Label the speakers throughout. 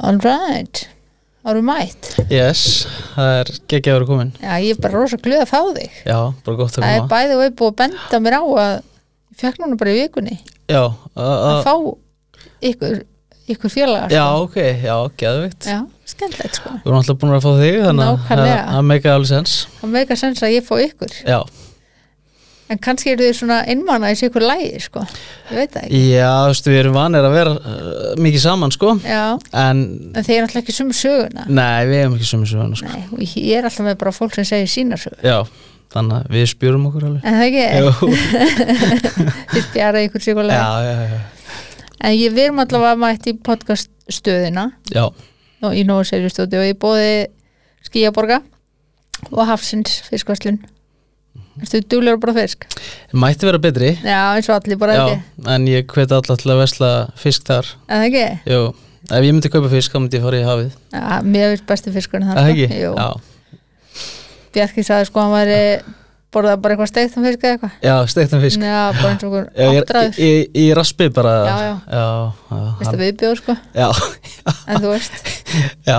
Speaker 1: All right, árum mætt
Speaker 2: Yes, það er geggjaður að komin
Speaker 1: Já, ég er bara rosa glöð að fá þig
Speaker 2: Já, bara gott að
Speaker 1: Það er
Speaker 2: koma
Speaker 1: bæði og ég búið að benda mér á að ég fekk núna bara í vikunni
Speaker 2: Já, að-
Speaker 1: að
Speaker 2: að-
Speaker 1: fá ykkur, ykkur félagar
Speaker 2: Ah. já, ok, já, geðvikt
Speaker 1: Já, skemmtilegt sko
Speaker 2: Við erum alltaf búin að fá þig Þannig að- að
Speaker 1: Nákvæmlega.
Speaker 2: að meika alveg sens
Speaker 1: Það meika sens að ég fá ykkur
Speaker 2: Já,
Speaker 1: En kannski eru þið svona innmanna í sér ykkur lægi sko Ég veit það ekki
Speaker 2: já, þú veist, við erum vanir að vera uh, mikið saman, sko
Speaker 1: Já,
Speaker 2: En,
Speaker 1: en þeir eru alltaf ekki sumu söguna
Speaker 2: nei, við erum ekki sömu söguna, sko
Speaker 1: Nei, og ég er alltaf með bara fólk sem segir sína sögu
Speaker 2: Já, þannig að við spjörum okkur Eh, alveg
Speaker 1: En það ekki,
Speaker 2: Jú,
Speaker 1: þið spjaraði ykkur sér ykkur
Speaker 2: já,
Speaker 1: lægi
Speaker 2: já, já,
Speaker 1: En ég, við erum allavega mætt í podcast stöðina
Speaker 2: já,
Speaker 1: og í Nóa Seljustúti og ég bóði skýjaborga og hafsins fiskvæslun
Speaker 2: Mhm.
Speaker 1: Ertu duglegur að bara fisk?
Speaker 2: mætti vera betri
Speaker 1: Já, eins og allir bara
Speaker 2: Já,
Speaker 1: ekki
Speaker 2: en ég hveti alla til að vesla fisk þar
Speaker 1: En það ekki?
Speaker 2: Jú, ef ég myndi kaupa fisk, þá myndi ég fara í hafið
Speaker 1: Já, mér finnst besti fiskurinn
Speaker 2: Það
Speaker 1: þar
Speaker 2: ekki?
Speaker 1: Jú.
Speaker 2: Já,
Speaker 1: Bjarki sagði sko hann væri borðað bara eitthvað steikt um fisk eða eitthvað
Speaker 2: já steiktan fisk
Speaker 1: Já, bara eins og okkur
Speaker 2: Já, ég,
Speaker 1: áttræður
Speaker 2: í, í raspi bara
Speaker 1: Já, já.
Speaker 2: já, já,
Speaker 1: Vist
Speaker 2: hann,
Speaker 1: að viðbjóð sko,
Speaker 2: já,
Speaker 1: en þú veist
Speaker 2: já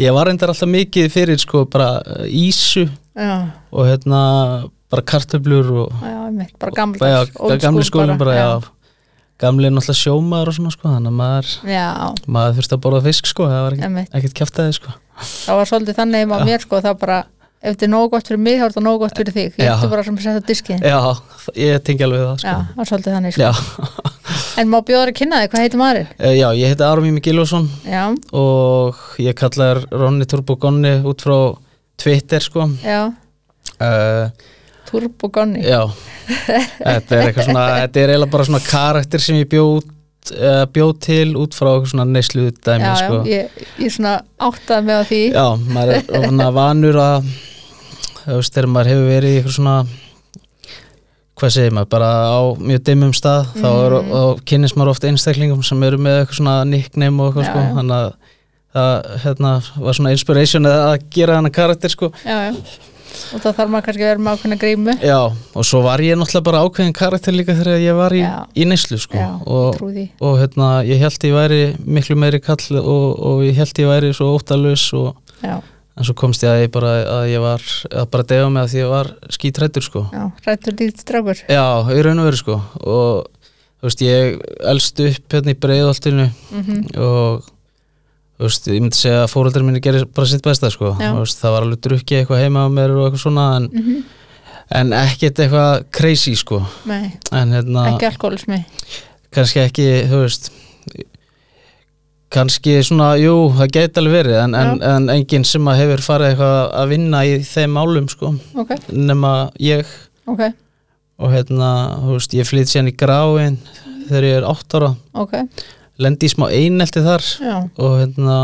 Speaker 2: Ég var reyndar alltaf mikið fyrir sko bara eh, ísu
Speaker 1: Já,
Speaker 2: og hérna bara kartöflur og
Speaker 1: já, mitt, bara
Speaker 2: já,
Speaker 1: gammaldags old
Speaker 2: gamli
Speaker 1: school
Speaker 2: skólinn bara, já Gamli er náttúrulega sjómaður og svona sko þannig að maður,
Speaker 1: já Já,
Speaker 2: maður þurfti að borða fisk sko það var ekkert-
Speaker 1: Einmitt.
Speaker 2: ekkert kjaftaði sko
Speaker 1: það var svolítið þannig um að mér sko, það bara ef þetta er nógu gott fyrir mig, þá er þetta nógu gott fyrir þig ég
Speaker 2: Já.
Speaker 1: ætti bara sem að setja diskið
Speaker 2: Já, ég tengi alveg við það
Speaker 1: Já,
Speaker 2: sko
Speaker 1: það er svolítið þannig sko.
Speaker 2: Já,
Speaker 1: En má bjóður að kynna þig, hvað heitir maðurinn?
Speaker 2: Eh, já ég heiti Arum Ími Gilvason
Speaker 1: Já,
Speaker 2: og ég kallar Ronni Turbo Gonni út frá Twitter sko
Speaker 1: já,
Speaker 2: uh,
Speaker 1: Turbo Gonni
Speaker 2: Já Þetta er eitthvað svona, þetta er eiginlega bara svona karakter sem ég bjóð uh, bjóð til út frá eitthvað svona neysluðu dæmi
Speaker 1: já,
Speaker 2: sko.
Speaker 1: ég, ég svona áttaði með á því
Speaker 2: Já, maður er svona vanur að þú veist, þegar maður hefur verið í eitthvað svona hvað segir maður, bara á mjög dimmum stað þá, er,
Speaker 1: Mm.
Speaker 2: þá kynnist maður oft einstaklingum sem eru með eitthvað svona nickname og eitthvað
Speaker 1: Já,
Speaker 2: sko,
Speaker 1: já.
Speaker 2: þannig að það hérna, var svona inspiration að að gera hana karakter sko.
Speaker 1: já, já Og þá þarf maður kannski að vera með ákveðna grímu
Speaker 2: Já, og svo var ég náttúrulega bara ákveðin karakter líka þegar ég var í,
Speaker 1: Já.
Speaker 2: í neyslu sko.
Speaker 1: Já,
Speaker 2: og,
Speaker 1: trú því
Speaker 2: og hérna, ég held ég væri miklu meiri kall og, og ég held ég væri svo óttalus og
Speaker 1: Já,
Speaker 2: en svo komst ég að ég bara, að ég var að bara defa mig að því ég var skítrættur sko
Speaker 1: já, rættur líkt strákur
Speaker 2: já, í raun og veru sko og þú veist, ég elst upp hérna í breiðoltinu
Speaker 1: Mhm.
Speaker 2: og þú veist, ég myndi segja að fóreldrar minni gerir bara sitt besta sko
Speaker 1: Já.
Speaker 2: Þú veist, það var alveg drukkið eitthvað heima á mér og eitthvað svona en,
Speaker 1: Mhm.
Speaker 2: en ekkert eitthvað crazy sko
Speaker 1: Nei,
Speaker 2: en hérna
Speaker 1: ekki alkoholismi
Speaker 2: kannski ekki, þú veist kannski svona, jú, það gæti alveg verið en, en, en enginn sem að hefur farið eitthvað að vinna í þeim álum sko,
Speaker 1: Ok,
Speaker 2: nema ég
Speaker 1: ok,
Speaker 2: og hérna, þú veist, ég flytt sérna í gráin þegar ég er átt ára
Speaker 1: ok
Speaker 2: lendi í smá einelti þar
Speaker 1: Já,
Speaker 2: og hérna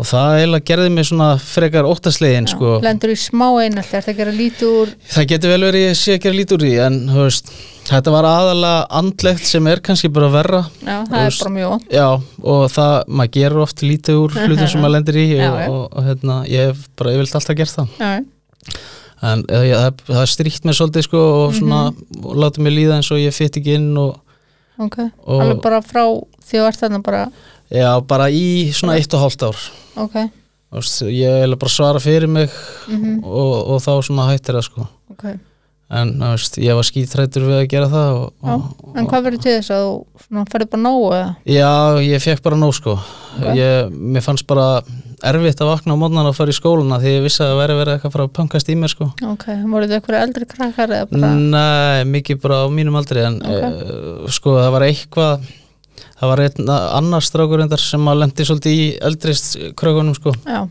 Speaker 2: og það eiginlega gerði mig svona frekar óttaslegin
Speaker 1: já.
Speaker 2: sko
Speaker 1: Lendur í smá einallt, er það að gera lítið úr
Speaker 2: Það getur vel verið ég sé ekki að lítur því en þú veist, þetta var aðalega andlegt sem er kannski bara verra
Speaker 1: Já, það er
Speaker 2: Úst.
Speaker 1: bara mjög vond
Speaker 2: Já, og það, maður gerur oft lítið úr hlutum sem maður lendir í
Speaker 1: Já,
Speaker 2: og,
Speaker 1: já.
Speaker 2: og, og hérna, ég hef bara yfirleitt alltaf gert það
Speaker 1: Já, já.
Speaker 2: en eh, ég, það, það er stríkt mér svolítið sko og svona,
Speaker 1: Mhm.
Speaker 2: og láta mér líða eins og ég fytt ekki inn og
Speaker 1: ok
Speaker 2: Og-
Speaker 1: Alveg bara frá því að verð þarna bara
Speaker 2: já, bara í svona eitt og hálft ár
Speaker 1: Ok,
Speaker 2: Þú veist, ég er bara að svara fyrir mig
Speaker 1: Mhm.
Speaker 2: og, og þá svona hættir það sko
Speaker 1: ok
Speaker 2: en þú veist, ég var skítrættur við að gera það og,
Speaker 1: Já,
Speaker 2: og,
Speaker 1: en hvað verður til þess að þú svona, ferði bara nógu eða?
Speaker 2: Já, ég fekk bara nóg sko
Speaker 1: Ok.
Speaker 2: ég, Mér fannst bara erfitt að vakna á mótnan og fara í skóluna því ég vissi að það væri verið eitthvað frá að punkast í mér sko
Speaker 1: Ok, voru þetta eitthvað eldri krakkar eða bara?
Speaker 2: Nei, mikið bara á mínum aldri en
Speaker 1: Ok.
Speaker 2: uh, sko það var eitthvað það var einn annar strákur endar sem að lendi svolítið í eldrist krökunum sko
Speaker 1: Já,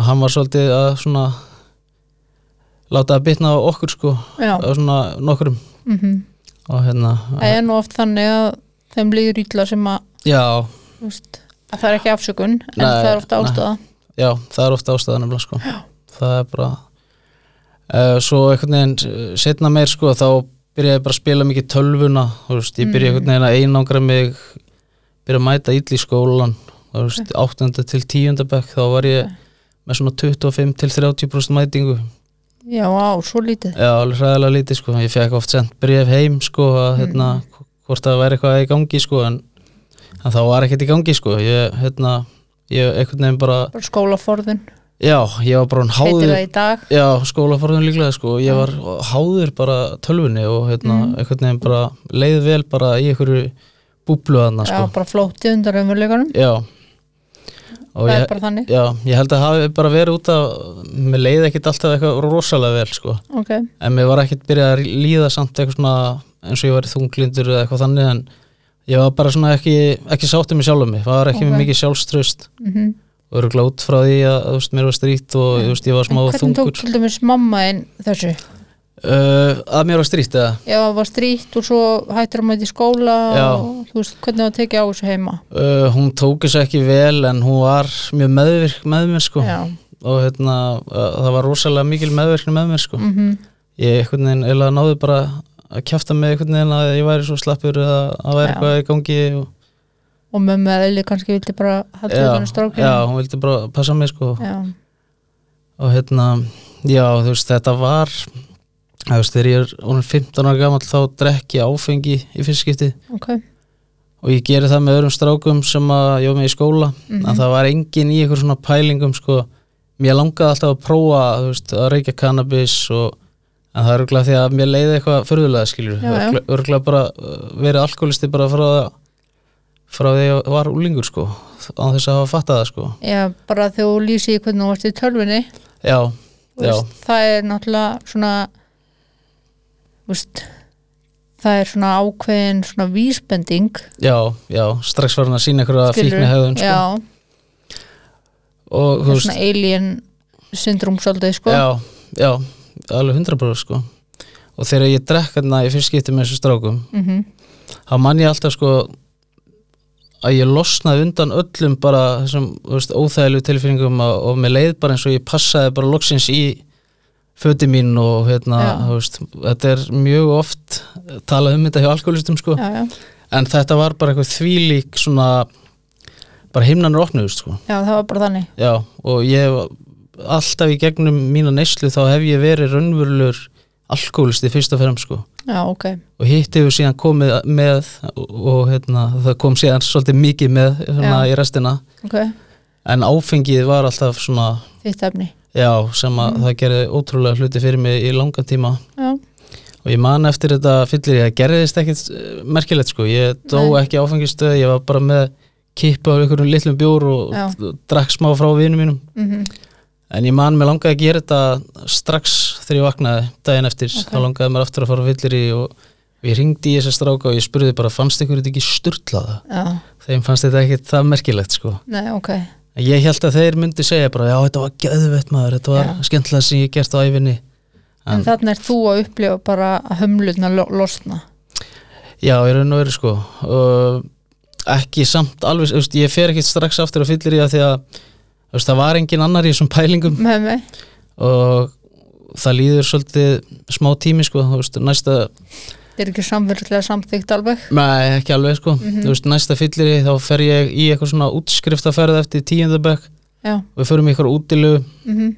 Speaker 2: að hann var svolítið að svona láta að bitna á okkur sko
Speaker 1: já,
Speaker 2: á svona nokkrum
Speaker 1: mhm.
Speaker 2: og hérna
Speaker 1: Það er nú oft þannig að þeim líður ítla sem að,
Speaker 2: Já,
Speaker 1: þú veist, að það er ekki afsökun en
Speaker 2: Nei,
Speaker 1: það er ofta ástæða.
Speaker 2: Já, það er ofta ástæðan nefnilega sko. það er bara uh, svo einhvern veginn eh, setna meir sko, þá byrjaði ég bara að spila mikið tölvuna þú veist, ég byrjaði einhvern veginn að einangra mig byrjaði að mæta ill í skólan þú veist, 8. til 10. bekk þá var ég með svona 25 til 30% mætingu
Speaker 1: Já, á, svo lítið.
Speaker 2: Já, alveg hræðilega lítið sko
Speaker 1: Mm.
Speaker 2: Ég fekk oft sent bref heim sko að hérna, hvort það væri eitthvað í gangi sko en en þá var ekkert í gangi sko ég, hérna, ég einhvern veginn bara
Speaker 1: bara skólaforðun,
Speaker 2: já, ég var bara
Speaker 1: heitir
Speaker 2: háður
Speaker 1: það í dag
Speaker 2: já, skólaforðun líklega sko ég var háður bara tölvunni og hérna,
Speaker 1: Mm.
Speaker 2: einhvern veginn bara leið vel bara í einhverju búblu þarna
Speaker 1: já,
Speaker 2: sko
Speaker 1: bara flótið undan raunveruleikunum
Speaker 2: já, og
Speaker 1: það
Speaker 2: ég,
Speaker 1: er bara þannig,
Speaker 2: já, ég held að hafi bara verið út af mér leið ekkert alltaf eitthvað rosalega vel sko
Speaker 1: ok
Speaker 2: en mér var ekkert byrjað að líða samt eitthvað svona eins og ég var þunglindur eða eitthvað þannig en ég var bara svona ekki, ekki sáttið með sjálfum mig, var ekki með
Speaker 1: Ok.
Speaker 2: mikið sjálfströst
Speaker 1: mm
Speaker 2: og eru út frá því að þú veist, mér var strýtt og þú veist, ég var smá
Speaker 1: hvernig tók
Speaker 2: þungur
Speaker 1: til dæmis mamma en þessu
Speaker 2: uh, að mér var strýtt eða
Speaker 1: ef það var strýtt og svo hættir að mæta í skóla
Speaker 2: Já.
Speaker 1: og þú veist hvernig það tekið á þessu heima
Speaker 2: uh, hún tók þessu ekki vel en hún var mjög meðvirk með mér sko
Speaker 1: já,
Speaker 2: og hérna, uh, það var rosalega mikil meðvirkni með mér sko
Speaker 1: mm
Speaker 2: ég einhvern veginn eða náði bara að kjæfta mig einhvern veginn að ég væri svo slappur eða að væri
Speaker 1: Já.
Speaker 2: eitthvað í gangi og
Speaker 1: og mömmu að Eli kannski vildi bara halda
Speaker 2: já,
Speaker 1: utan um strákinn.
Speaker 2: já, hún vildi bara passa mig sko
Speaker 1: já,
Speaker 2: og hérna, já þú veist þetta var þú veist, þegar ég er orðinn 15 ára gamall þá drekk ég áfengi í fyrstskipti
Speaker 1: ok
Speaker 2: og ég geri það með öðrum strákum sem að ég var með í skóla
Speaker 1: Mhm.
Speaker 2: en það var engin í einhver svona pælingum sko, mér langaði alltaf að prófa þú veist, að reykja cannabis og en það er örgulega því að mér leiði eitthvað förðulega skilur,
Speaker 1: Já, já.
Speaker 2: örgulega bara uh, verið alkoholisti bara frá það frá því að ég var úlingur sko á þess að hafa fattað það sko
Speaker 1: já, bara þegar þú lýsið hvernig þú varst í tölvinni
Speaker 2: já,
Speaker 1: þú
Speaker 2: já,
Speaker 1: veist, það er náttúrulega svona þú veist, það er svona ákveðin svona vísbending
Speaker 2: já, já strax var hann að sína einhverja
Speaker 1: skilurðu.
Speaker 2: fíkni hegðun sko.
Speaker 1: já,
Speaker 2: og
Speaker 1: það
Speaker 2: þú
Speaker 1: er
Speaker 2: veist
Speaker 1: svona alien syndrúm svolítið sko
Speaker 2: Já, já, alveg hundra bróður sko og þegar ég drekk hérna í fyrst skipti með þessu strákum
Speaker 1: Mhm.
Speaker 2: þá man ég alltaf sko að ég losnaði undan öllum bara þessum þú veist, óþægilegu tilfinningum og, og mér leið bara eins og ég passaði bara loksins í föti mín og hérna,
Speaker 1: Já.
Speaker 2: þú veist, þetta er mjög oft talað um þetta hjá alkoholistum sko
Speaker 1: já, já,
Speaker 2: en þetta var bara eitthvað þvílík svona bara himnanur opnuðust sko
Speaker 1: já, það var bara þannig
Speaker 2: Já, og ég hef alltaf í gegnum mína neyslu þá hef ég verið raunverulegur alkoholisti fyrst og fremst sko
Speaker 1: já, ok,
Speaker 2: og hitt hefur síðan komið með og, og hérna, það kom síðan svolítið mikið með hérna,
Speaker 1: Já.
Speaker 2: í restina
Speaker 1: ok,
Speaker 2: en áfengið var alltaf svona
Speaker 1: þitt efni
Speaker 2: já, sem
Speaker 1: Mm.
Speaker 2: að það gerði ótrúlega hluti fyrir mig í langan tíma
Speaker 1: já,
Speaker 2: og ég man eftir þetta fyllir ég að gerðist ekkit eh, merkilegt sko, ég dó
Speaker 1: Nei.
Speaker 2: ekki áfengistöð ég var bara með kippa af einhverjum litlum bjór og
Speaker 1: Já.
Speaker 2: drakk smá frá vinum mínum
Speaker 1: mhm
Speaker 2: En ég man, mér langaði að gera þetta strax þegar ég vaknaði daginn eftir
Speaker 1: Ok.
Speaker 2: þá langaði mér aftur að fara fyllir í og ég ringdi í þessa stráka og ég spurði bara fannst ykkur þetta ekki sturlaða?
Speaker 1: já,
Speaker 2: Þeim fannst þetta ekkit það merkilegt sko
Speaker 1: nei, ok
Speaker 2: En Ég held að þeir myndi segja bara já, þetta var geðvett maður, þetta var
Speaker 1: Já.
Speaker 2: skemmtilega sem ég gert á æfinni
Speaker 1: en þarna er þú að upplifa bara að hömlutna lo losna
Speaker 2: Já, ég raun og veru sko uh, ekki samt alveg, þú veist, ég fer ekkit strax aftur að fyllir í það því að þú veist, það var engin annar í þessum pælingum
Speaker 1: með mig,
Speaker 2: og það líður svolítið smá tími sko, þú veist, næsta
Speaker 1: þetta er ekki samverðlega samþygt alveg
Speaker 2: Nei, ekki alveg sko,
Speaker 1: Mhm.
Speaker 2: þú veist, næsta fyllir þá fer ég í eitthvað svona útskriftaferð eftir tíundabökk
Speaker 1: já,
Speaker 2: og við förum í eitthvað útilu
Speaker 1: mhm,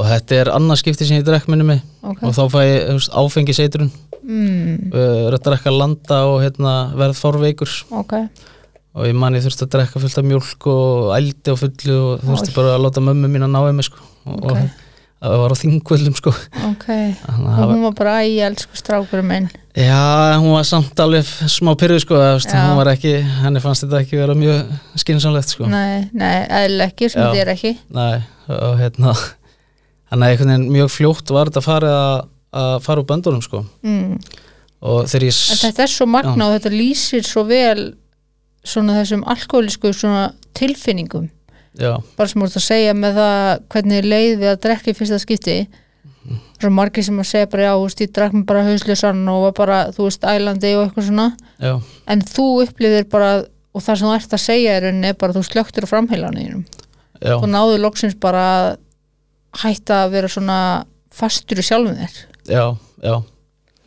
Speaker 2: og þetta er annað skipti sem ég drekk minni mig
Speaker 1: ok
Speaker 2: og þá fæ ég þú veist, áfengiseitrun
Speaker 1: mm,
Speaker 2: uh, er að drekka landa og hérna, verð fórveikur
Speaker 1: ok,
Speaker 2: og ég man ég þurfti að drekka fullt af mjólk og ældi og fullu og þurfti bara að láta mömmu mín að ná mig sko og,
Speaker 1: Ok. Mhm.
Speaker 2: og það var á þingvöldum sko
Speaker 1: ok
Speaker 2: Þannig að
Speaker 1: og
Speaker 2: það var-
Speaker 1: hún var bara, æ, elsku strákur minn
Speaker 2: Já, en hún var samt alveg smá pyrðu sko, þú veist,
Speaker 1: Já.
Speaker 2: hún var ekki, henni fannst þetta ekki vera mjög skynsamlegt sko
Speaker 1: nei, nei, eðlilega ekki, sem
Speaker 2: Já.
Speaker 1: þið er ekki
Speaker 2: Nei, og hérna þannig að einhvern veginn mjög fljótt var þetta farið að, að fara úr böndunum sko
Speaker 1: mm.
Speaker 2: og þegar ég
Speaker 1: en
Speaker 2: s-
Speaker 1: þetta er svo magna og þetta lýsir svo vel svona þessum alkoholisku svona tilfinningum
Speaker 2: já,
Speaker 1: bara sem voru að segja með það hvernig leið við að drekka í fyrsta skipti
Speaker 2: Mhm.
Speaker 1: svo margir sem að segja bara já, þú veist, ég drakk mig bara hauslösan og var bara, þú veist, ælandi og eitthvað svona
Speaker 2: já,
Speaker 1: en þú upplifir bara og það sem þú ert að segja er enn er bara þú slöktur á framheilaninum
Speaker 2: já,
Speaker 1: og náðu loksins bara að hætta að vera svona fastur í sjálfum þér
Speaker 2: já, já,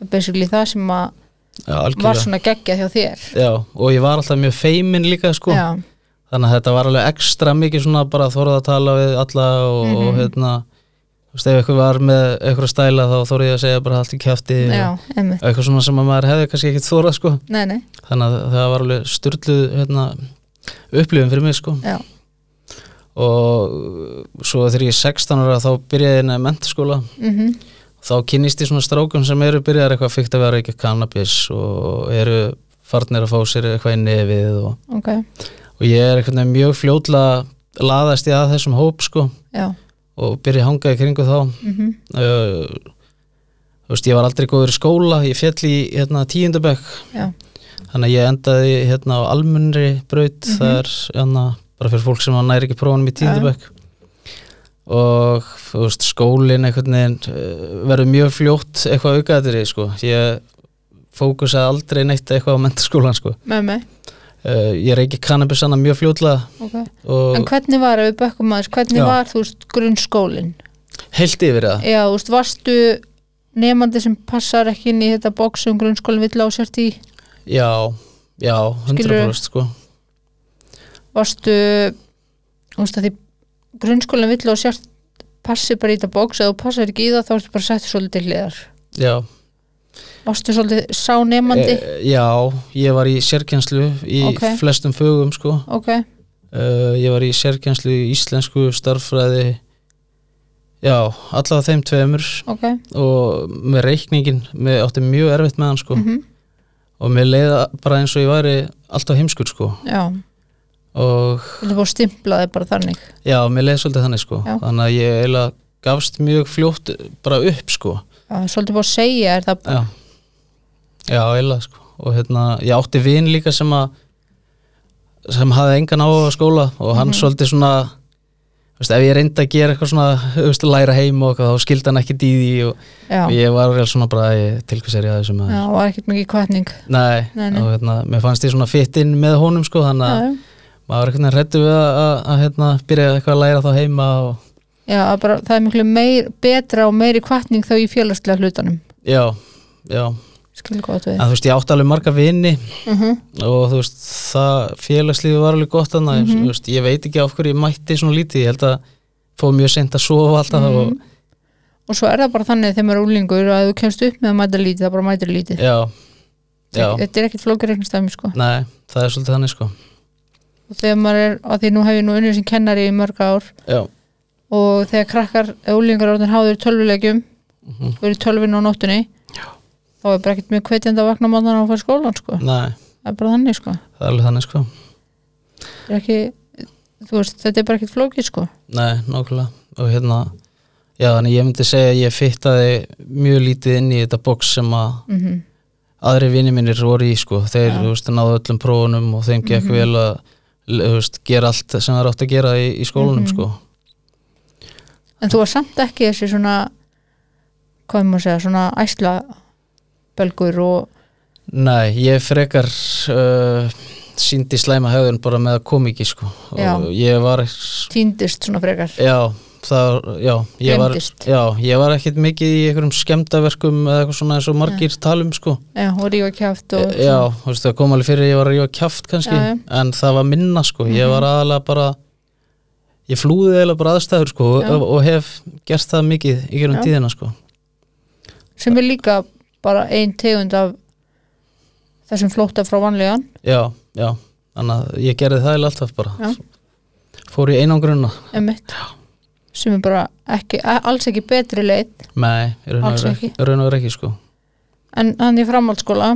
Speaker 1: það er basically það sem að
Speaker 2: já
Speaker 1: var
Speaker 2: algjörlega
Speaker 1: svona geggja hjá þér
Speaker 2: já, og ég var alltaf mjög feimin líka sko
Speaker 1: já, Mhm.
Speaker 2: þannig að þetta var alveg ekstra mikið svona bara að þorða að tala við alla og, og hérna þú veist, ef eitthvað var með eitthvað stæla þá þóri ég að segja bara allt í kjæfti
Speaker 1: já, einmitt,
Speaker 2: eitthvað svona sem að maður hefði kannski ekkit þórað sko.
Speaker 1: nei, nei
Speaker 2: þannig að það var alveg styrluð hérna, upplifun fyrir mig sko.
Speaker 1: já,
Speaker 2: og svo þegar ég er 16 ára þá byrjaði ég að mentaskóla
Speaker 1: mm
Speaker 2: þá kynnist ég svona strákum sem eru byrjar eitthvað fyrkt að vera ekki kannabis og eru farnir að fá sér eitthvað í nefið og,
Speaker 1: ok,
Speaker 2: og ég er eitthvað mjög fljótlega laðast ég að þessum hóp sko
Speaker 1: já
Speaker 2: og byrja að hanga í kringu þá
Speaker 1: mm
Speaker 2: uh, þú veist ég var aldrei góður í skóla ég fjall í hérna, tíundabekk
Speaker 1: já,
Speaker 2: þannig að ég endaði hérna á almunri braut
Speaker 1: Mhm.
Speaker 2: mm það er hérna, bara fyrir fólk sem að næri ekki prófanum í tíundabekk og þú veist, skólin einhvern veginn eh, verður mjög fljótt eitthvað aukaðri sko. ég fókusaði aldrei neitt eitthvað á mentaskólan sko.
Speaker 1: með mig,
Speaker 2: uh, ég er ekki kannabis annað mjög fljótlega
Speaker 1: ok en
Speaker 2: og
Speaker 1: hvernig var, ef við bökkum aðeins, hvernig
Speaker 2: Já.
Speaker 1: var þú veist grunnskólin,
Speaker 2: heilt yfir það
Speaker 1: já, þú veist, varstu nefandi sem passar ekki inn í þetta box sem grunnskólinn vill á sért í
Speaker 2: já, já, 100% sko.
Speaker 1: varstu þú veist að því grunnskólinn vill á sért passi bara í þetta box, ef þú passar ekki í það þá ertu bara sett svolítið til hliðar
Speaker 2: já,
Speaker 1: varstu svolítið sá nefandi
Speaker 2: Eh, já, ég var í sérkjenslu í
Speaker 1: Ok.
Speaker 2: flestum fögum sko.
Speaker 1: ok,
Speaker 2: uh, ég var í sérkjenslu í íslensku starffræði já, allavega þeim tveimur
Speaker 1: ok
Speaker 2: og með reikningin með átti mjög erfitt með hann sko.
Speaker 1: mhm,
Speaker 2: og mér leiða bara eins og ég væri alltaf heimskur sko.
Speaker 1: já,
Speaker 2: og
Speaker 1: viltu búið að stimpla þig bara þannig
Speaker 2: já, mér leiði svolítið þannig sko.
Speaker 1: Já.
Speaker 2: þannig að ég eiginlega gafst mjög fljótt bara upp sko.
Speaker 1: já, svolítið búið að segja er það
Speaker 2: já, já eiginlega sko. og hérna, ég átti vin líka sem að sem hafði engan áhuga á skóla og
Speaker 1: Mhm.
Speaker 2: hann svolítið svona þú veist, ef ég reyndi að gera eitthvað svona þú veist, læra heim og eitthvað, þá skildi hann ekki dýði og
Speaker 1: já,
Speaker 2: og
Speaker 1: já,
Speaker 2: ég var alveg svona bara ég, til hvers er ég að þessu maður
Speaker 1: var ekkert mikið kvartning
Speaker 2: nei,
Speaker 1: Nei, nei.
Speaker 2: og hérna, mér fannst ég svona fitt inn með honum sko, þannig að
Speaker 1: já,
Speaker 2: maður er eitthvað hrættu við að, að, að hérna, byrja eitthvað að læra þá heima og
Speaker 1: já, að bara, það er miklu meir, betra og meiri kvartning þá í félagslega hlutanum
Speaker 2: já, já
Speaker 1: skilur gott við
Speaker 2: en þú veist, ég átti alveg marga vini
Speaker 1: mm
Speaker 2: og þú veist, það félagslífi var alveg gott þannig, mm veist, ég veit ekki af hverju ég mætti svona lítið, ég held að fóð mjög sent að sofa alltaf og
Speaker 1: og svo er það bara þannig þegar maður er úlingur að ef þú kemst upp með að mæta lítið, það bara mæta lítið
Speaker 2: já, já,
Speaker 1: þetta er ekkert flókir reiknistæmi sko
Speaker 2: nei, það er svolítið þannig sko
Speaker 1: og þegar maður er, að því nú hef ég nú unnið sem kennari í mörg ár
Speaker 2: já,
Speaker 1: og þegar krakkar, eða úlingar orðin háður í tölvulegjum
Speaker 2: mm
Speaker 1: og eru í tölvinu á nóttunni þá er bara ekkert mjög hvetjandi að vakna mándan og fara í skólan sko,
Speaker 2: nei,
Speaker 1: það er bara þannig sko
Speaker 2: það er alveg þannig sko
Speaker 1: Það er ekki, þú veist, þetta er bara ekkert flókið sko
Speaker 2: Nei, nákvæmlega og hérna, já þannig ég myndi segja að ég fittaði mjög lítið inn í þetta box sem að
Speaker 1: mm -hmm.
Speaker 2: aðri vini mínir voru í sko, þeir þú veist, náðu öllum prófunum og þeim gekk vel að þú veist, gera allt sem það er átt að gera í, í skólanum sko
Speaker 1: en þú var samt ekki þessi svona hvað maður segja, svona æsla belgur og
Speaker 2: Nei, ég frekar uh, síndi slæma höfðun bara með að koma ekki sko og
Speaker 1: Já.
Speaker 2: ég var
Speaker 1: týndist svona frekar
Speaker 2: já, það, já, ég var,
Speaker 1: Gleymdist.
Speaker 2: já, ég var ekkit mikið í einhverjum skemmtaverkum eða eitthvað svona eins og margir talum sko
Speaker 1: já, og rífa kjáft og
Speaker 2: já, þú veist, það kom alveg fyrir að ég var að rífa kjaft kannski,
Speaker 1: Já, Mhm. já.
Speaker 2: en það var minna sko, ég var aðalega bara ég flúði eiginlega bara aðstæður sko
Speaker 1: Já.
Speaker 2: og, og hef gert það mikið í gerum
Speaker 1: Já.
Speaker 2: tíðina sko
Speaker 1: sem er líka bara ein tegund af þessum flóta frá vanlegan
Speaker 2: já, já, þannig að ég gerði það eiginlega alltaf bara,
Speaker 1: Já.
Speaker 2: fór í einangrunna
Speaker 1: emitt, sem er bara ekki, a- alls ekki betri leið
Speaker 2: nei, í raun og
Speaker 1: Alls
Speaker 2: veru
Speaker 1: ekki.
Speaker 2: ekki, í raun og veru ekki sko
Speaker 1: en hann í framhaldsskóla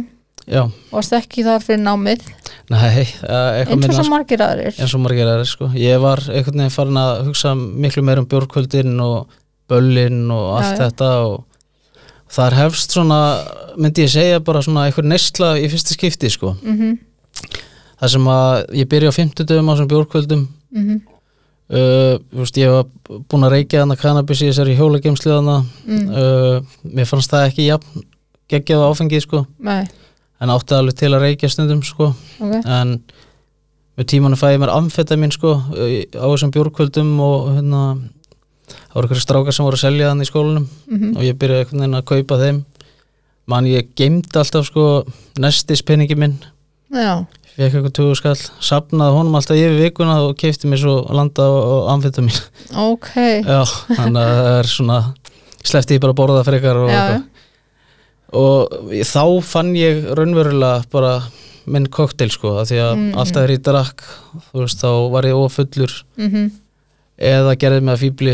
Speaker 2: já,
Speaker 1: varst ekki þar fyrir námið
Speaker 2: nei, eh, eitthvað
Speaker 1: eins og
Speaker 2: minna
Speaker 1: svo
Speaker 2: sko,
Speaker 1: margir aðrir
Speaker 2: eins og margir aðeins sko, ég var einhvern veginn farin að hugsa miklu meir um bjórkvöldin og böllin og
Speaker 1: Já,
Speaker 2: allt
Speaker 1: já.
Speaker 2: þetta og þar hefst svona, myndi ég segja bara svona einhver neysla í fyrsta skipti sko
Speaker 1: mm -hmm,
Speaker 2: þar sem að ég byrja á 50 dögum á þessum bjórkvöldum
Speaker 1: mm -hmm,
Speaker 2: uh, þú veist, ég var búin að reykja þarna kannabis í þessari hjólagemslu þarna
Speaker 1: Mm.
Speaker 2: uh, mér fannst það ekki jafn geggjað á áfengið sko
Speaker 1: nei,
Speaker 2: en átti alveg til að reykja stundum sko
Speaker 1: ok
Speaker 2: en með tímanu fæði ég mér amfetamin sko í- á þessum bjórkvöldum og hérna það voru einhverju strákar sem voru að selja þannig í skólanum
Speaker 1: mm
Speaker 2: og ég byrjaði einhvern veginn að kaupa þeim man ég geimdi alltaf sko nestis peningi minn
Speaker 1: já,
Speaker 2: fekk eitthvað tugu skall, sapnaði honum alltaf yfir vikuna og keipti mér svo landa og amfita mín
Speaker 1: ok,
Speaker 2: já, þannig að það er svona sleppti ég bara að borða það frekar og,
Speaker 1: Já.
Speaker 2: eitthvað. og þá fann ég raunverulega bara minn koktel sko, af því að
Speaker 1: Mm,
Speaker 2: alltaf þegar ég drakk þú veist, þá var ég ofullur
Speaker 1: mhm
Speaker 2: eða gerði mig að fýbli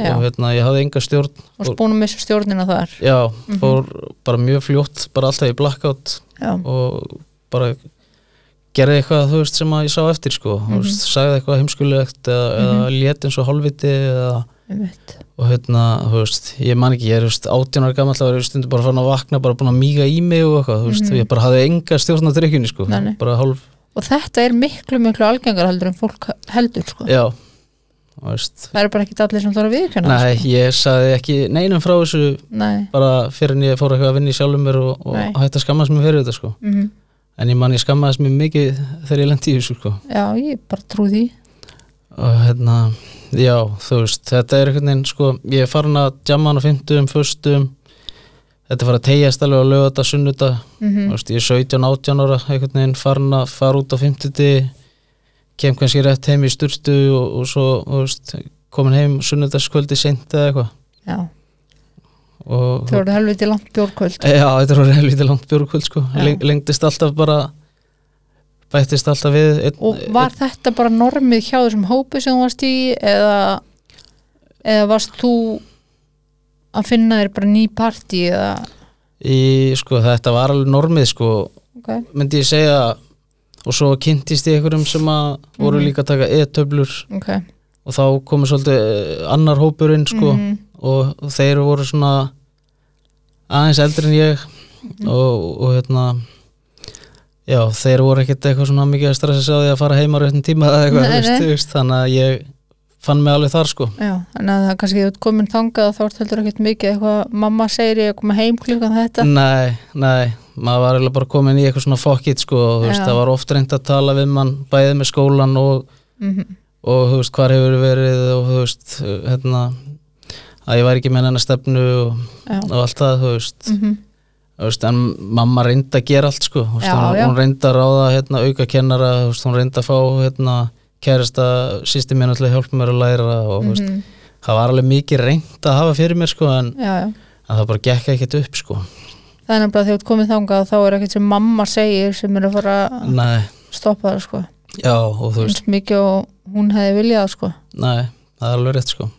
Speaker 1: Já.
Speaker 2: og hérna, ég hafði enga stjórn
Speaker 1: og spúnum þessu stjórnina þar
Speaker 2: já,
Speaker 1: Mhm.
Speaker 2: fór bara mjög fljótt bara alltaf í blackout
Speaker 1: já,
Speaker 2: og bara gerði eitthvað þú veist sem að ég sá eftir sko
Speaker 1: Mhm.
Speaker 2: mm veist, sagði eitthvað heimskulegt eða, eða lét eins og hálfviti eða,
Speaker 1: einmitt
Speaker 2: og hérna, þú veist, ég man ekki ég er þú veist, 18 ára gammal, þá er ég stundum bara fann að vakna bara búin að míga í mig og eitthvað, þú veist ég bara hafði enga stjórn á drykjunni sko
Speaker 1: Mhm. Nei, nei.
Speaker 2: bara hálf,
Speaker 1: og þetta er miklu miklu algengar heldur en fólk heldur sko
Speaker 2: já þú veist,
Speaker 1: það eru bara ekki allir sem þarf að viðkjöna
Speaker 2: nei, ég sagði ekki neinum frá þessu
Speaker 1: nei.
Speaker 2: bara fyrir en ég fór eitthvað að vinna í sjálfum mér og, og
Speaker 1: Nei.
Speaker 2: hætti að skammast mér fyrir þetta sko
Speaker 1: Mm
Speaker 2: en ég man ég skammaðist mér mikið þegar ég lendi í þessu sko
Speaker 1: já, ég bara trú því
Speaker 2: og hérna, já þú veist þetta er einhvern veginn sko ég er farin að jamma hann á 50, 1. þetta er farið að tegjast alveg á lögata, sunnuta
Speaker 1: mm
Speaker 2: þú veist, ég er 17, 18 ára einhvern veginn farin að fara út á 50 kem kannski rétt heim í sturtu og, og svo, þú veist komin heim sunnudagskvöldi seint eða eitthvað
Speaker 1: já,
Speaker 2: og
Speaker 1: þau eru helviti langt bjórkvöld
Speaker 2: Já, þetta var lítið langt björgkvöld sko.
Speaker 1: Já.
Speaker 2: Leng, lengdist alltaf bara bættist alltaf við einn,
Speaker 1: og var þetta bara normið hjá þessum hópi sem þú varst í eða, eða varst þú að finna þér bara ný partí eða
Speaker 2: í, sko, þetta var alveg normið sko,
Speaker 1: ok,
Speaker 2: myndi ég segja og svo kynntist ég einhverjum sem að voru
Speaker 1: Mhm.
Speaker 2: líka að taka e-töflur
Speaker 1: ok
Speaker 2: og þá komið svolítið eh, annar hópurinn sko,
Speaker 1: Mhm.
Speaker 2: og þeir voru svona aðeins eldri en ég
Speaker 1: Mhm.
Speaker 2: og, og hérna já, þeir voru ekkert eitthvað svona mikið að stressa sig á því að fara heim á réttin tíma eða eitthvað,
Speaker 1: Nei,
Speaker 2: þú veist,
Speaker 1: nei.
Speaker 2: þú veist, þannig að ég fann mig alveg þar sko
Speaker 1: Já, en að það er kannski þú ert komin þangað og þá ert heldur ekkert mikið eitthvað mamma segir ég að koma heim klukkan þetta
Speaker 2: Nei, nei, maður var eiginlega bara komin í eitthvað svona fokkit sko og þú veist,
Speaker 1: Já.
Speaker 2: það var oft reynd að tala við mann bæðið með skólan og,
Speaker 1: mm
Speaker 2: og þú veist, hvar hefur verið og þú veist, hérna að ég væri ekki með hennar stefnu og,
Speaker 1: Já,
Speaker 2: og allt það, þú veist,
Speaker 1: mm
Speaker 2: þú veist en mamma reyndi að gera allt sko, þú veist,
Speaker 1: Já,
Speaker 2: hún,
Speaker 1: já.
Speaker 2: hún reyndi að ráða hérna auka kennara, þú veist, hún reyndi að fá hérna kærasta, sýsti mér náttúrulega hjálpa mér að læra og þú veist,
Speaker 1: Mhm.
Speaker 2: það var alveg mikið reynd að hafa fyrir mér sko en,
Speaker 1: já, já
Speaker 2: en það bara gekk ekkert upp sko,
Speaker 1: Það er nefnilega að þú ert komin þangað þá er ekkert sem mamma segir sem er að fara að
Speaker 2: nei,
Speaker 1: stoppa það sko
Speaker 2: já og þú veist
Speaker 1: eins mikið og hún hefði viljað sko
Speaker 2: Nei, það er alveg rétt sko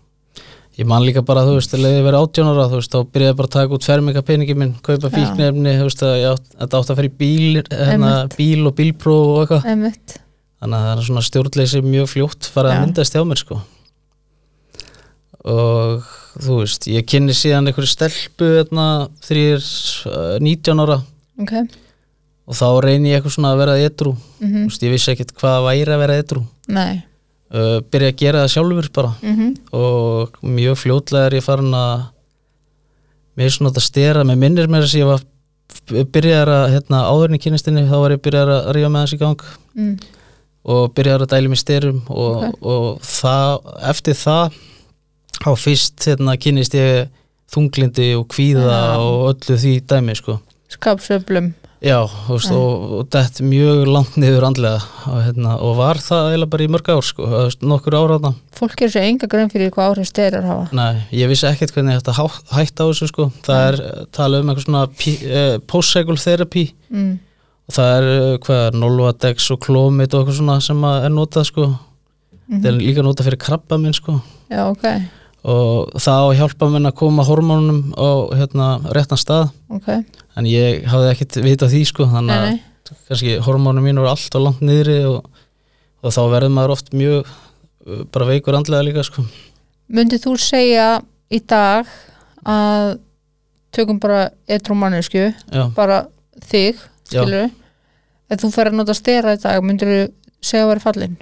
Speaker 2: Ég man líka bara, þú veist, að leiði verið 18 ára þú veist, þá byrjaði ég bara að taka út ferminga peningi minn kaupa
Speaker 1: Já.
Speaker 2: fíknefni, þú veist, að ég átt, þetta átt að fara í bíl, hérna,
Speaker 1: Einmitt.
Speaker 2: bíl og bílpróf og eitthvað
Speaker 1: Einmitt,
Speaker 2: Þannig að það er svona stjórnleysi mjög fljótt farið
Speaker 1: Já.
Speaker 2: að myndast hjá mér sko og þú veist, ég kynni síðan einhverju stelpu hérna, þegar ég er uh, 19 ára
Speaker 1: ok
Speaker 2: og þá reyni ég eitthvað svona að vera edrú
Speaker 1: mm
Speaker 2: þú veist, ég vissi ekkert hvað væri að vera edrú
Speaker 1: Nei
Speaker 2: uh, byrja að gera það sjálfur bara
Speaker 1: mm
Speaker 2: og mjög fljótlega er ég farin að mér er svona að stera mér minnir mér þess að ég var byrjar að, hérna, áðurinn í kynistinni þá var ég byrjar að rífa með þess í gang
Speaker 1: mm.
Speaker 2: og byrjar að dæli mér styrum og,
Speaker 1: Ok.
Speaker 2: og það, eftir það á fyrst, hérna, kynist ég þunglindi og kvíða
Speaker 1: Já.
Speaker 2: og öllu því dæmi, sko
Speaker 1: Skapsöflum
Speaker 2: já, þú veist,
Speaker 1: Já.
Speaker 2: og, og dett mjög langt niður andlega og, hérna, og var það eiginlega bara í mörg ár, sko, þú veist, nokkur ára þarna
Speaker 1: Fólk er svo enga grein fyrir hvað áhrif styrir hafa
Speaker 2: Nei, ég vissi ekkert hvernig þetta há- hætt á þessu sko. Það er eh, talað um eitthvað svona pí- eh, post-cycle therapy
Speaker 1: mm.
Speaker 2: og það er, eh, hvað er, Nolvadex og Clomid og eitthvað svona sem að er notað sko.
Speaker 1: Mhm.
Speaker 2: Það er líka notað fyrir krabba minn sko
Speaker 1: Já, ok,
Speaker 2: og það á að hjálpa minn að koma hormónum á hérna réttan stað
Speaker 1: ok
Speaker 2: en ég hafði ekkert vitað því sko þannig
Speaker 1: Nei,
Speaker 2: að
Speaker 1: nei.
Speaker 2: kannski hormónum mín voru allt og langt niðri og, og þá verður maður oft mjög eh, bara veikur andlega líka sko.
Speaker 1: Myndið þú segja í dag að tökum bara eitthvað mannesku,
Speaker 2: Já.
Speaker 1: bara þig,
Speaker 2: Já.
Speaker 1: skilur ef þú fer að nota stera í dag, myndir þú segja að vera fallin?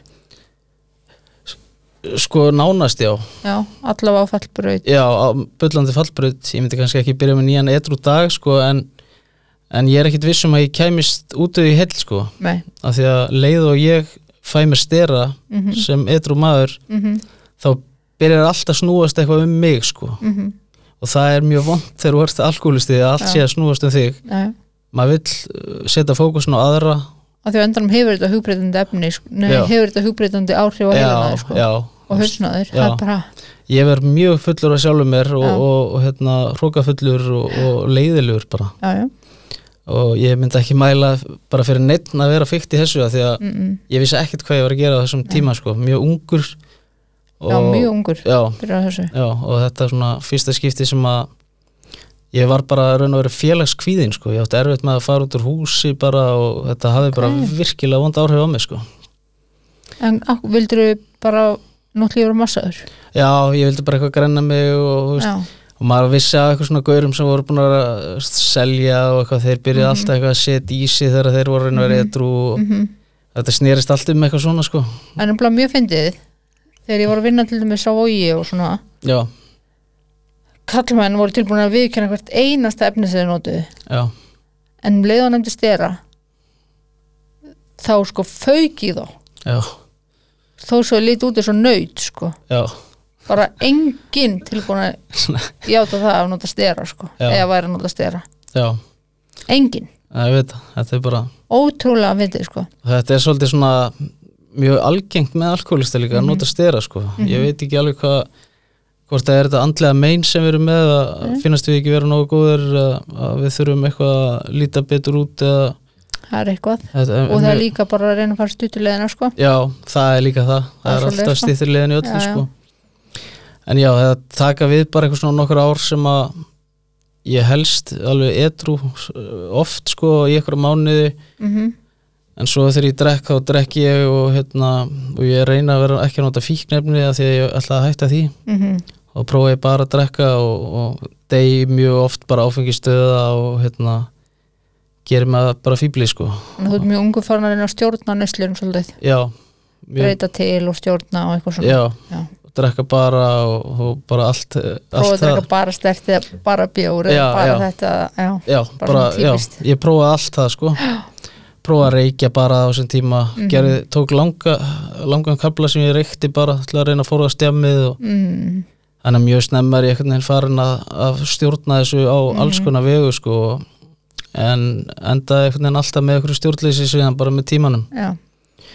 Speaker 2: Sko nánast já
Speaker 1: Já, allavega á fallbraut
Speaker 2: Já, á bullandi fallbröð ég myndi kannski ekki byrja með nýjan edru dag sko, en, en ég er ekkit viss um að ég kæmist út í hell sko,
Speaker 1: Nei,
Speaker 2: af því að leið og ég fæ mér stera
Speaker 1: mhm,
Speaker 2: sem edru maður
Speaker 1: mhm,
Speaker 2: þá byrjar allt að snúast eitthvað um mig sko.
Speaker 1: mhm
Speaker 2: og það er mjög vond þegar þú ert alkoholistið að allt
Speaker 1: Já.
Speaker 2: sé að snúast um þig
Speaker 1: Já,
Speaker 2: maður vill uh, setja fókusin á aðra
Speaker 1: að því á endanum hefur þetta hugbreytandi efni sko, nei,
Speaker 2: Já.
Speaker 1: hefur þetta hugbreytandi áhrif á heilina sko,
Speaker 2: já,
Speaker 1: og hausnaður, það
Speaker 2: Já.
Speaker 1: er bara
Speaker 2: ég verð mjög fullur af sjálfum mér og,
Speaker 1: Já.
Speaker 2: og, og hérna, hrókafullur og, og leiðilur bara
Speaker 1: já, já,
Speaker 2: og ég myndi ekki mæla bara fyrir neitt að vera fyrkt í þessu af því að
Speaker 1: mm -mm.
Speaker 2: ég vissi ekkert hvað ég var að gera á þessum tíma sko, mjög ungur
Speaker 1: já mjög ungur
Speaker 2: já,
Speaker 1: fyrir að þessu
Speaker 2: já, og þetta er svona fyrsta skipti sem að ég var bara raun og verið félagskvíðin sko, ég átti erfitt með að fara út úr húsi bara og þetta hafði bara
Speaker 1: Ok.
Speaker 2: virkilega vond áhrif á mig sko
Speaker 1: en á, vildur við bara nútlífur og massaður
Speaker 2: Já, ég vildi bara eitthvað grenna mig og, þú veist,
Speaker 1: já,
Speaker 2: og maður vissi að eitthvað svona gaurum sem voru búin að vera að selja og eitthvað, þeir byrjuði alltaf eitthvað að setja í sig þegar þeir voru einhver etru og
Speaker 1: mhm
Speaker 2: þetta snerist allt um eitthvað svona sko
Speaker 1: en um mjög fyndið þegar ég var að vinna til dæmis á vogi og svona
Speaker 2: Já,
Speaker 1: kallmenn voru tilbúin að viðkjöna hvert einasta efni sem þeir notuðu
Speaker 2: já,
Speaker 1: en um leiðan nefndi stera þá sko fauk í þá
Speaker 2: já,
Speaker 1: þó svo lítið út eins og nöyt sko
Speaker 2: já
Speaker 1: bara enginn tilbúin að játa það að nota stera sko
Speaker 2: Já.
Speaker 1: eða væri að nota stera,
Speaker 2: Já,
Speaker 1: enginn
Speaker 2: það ég veit það, þetta er bara
Speaker 1: ótrúlega fyndið sko
Speaker 2: þetta er svolítið svona mjög algengt með alkoholista
Speaker 1: Mhm.
Speaker 2: líka að nota stera sko, ég veit ekki alveg hvað hvort það er þetta andlega mein sem við erum með að
Speaker 1: Mhm.
Speaker 2: finnast við ekki vera nógu góður að, að við þurfum eitthvað að líta betur út eða,
Speaker 1: það er eitthvað
Speaker 2: þetta,
Speaker 1: og það er líka bara að reyna að fara stuttulegina sko
Speaker 2: Já, það er líka það
Speaker 1: Það er
Speaker 2: Það er
Speaker 1: svoleiðis,
Speaker 2: alltaf
Speaker 1: sko.
Speaker 2: stýttir liðin í
Speaker 1: Já, já.
Speaker 2: öllu sko. En já, það taka við bara eitthvað svona nokkur ár sem að ég helst alveg edru oft sko í einhverja mánuði
Speaker 1: mm
Speaker 2: en svo þegar ég drekk þá drekk ég og, hérna, og ég reyna að vera ekki að nota fíknefni af því að ég ætla að hætta því
Speaker 1: -hmm.
Speaker 2: og prófa ég bara að drekka og, og dey mjög oft bara áfengistöða og hérna gerir maður bara fíbli sko
Speaker 1: þú ert mjög ungu farin að reyna að stjórna nöslunum svolítið,
Speaker 2: Já, mjög,
Speaker 1: breyta til og stjórna og eitthvað svona
Speaker 2: já
Speaker 1: Já.
Speaker 2: og drekka bara og, og bara allt, eh,
Speaker 1: prófa að
Speaker 2: allt
Speaker 1: drekka bara stert eða bara bjór eða
Speaker 2: Já,
Speaker 1: bara
Speaker 2: já.
Speaker 1: þetta já,
Speaker 2: já,
Speaker 1: bara
Speaker 2: bara,
Speaker 1: svona
Speaker 2: já,
Speaker 1: típist.
Speaker 2: ég prófaði allt það sko prófaði að reykja bara á þessum tíma
Speaker 1: Mhm.
Speaker 2: gerði, tók langa, langan kabla sem ég reykti bara til að reyna að fóra að stemmið og
Speaker 1: mm,
Speaker 2: þannig að mjög snemma er ég einhvern veginn farin að, að stjórna þessu á alls konar vegu sko en endaði einhvern veginn alltaf með einhverju stjórnleysi síðan bara með tímanum
Speaker 1: já.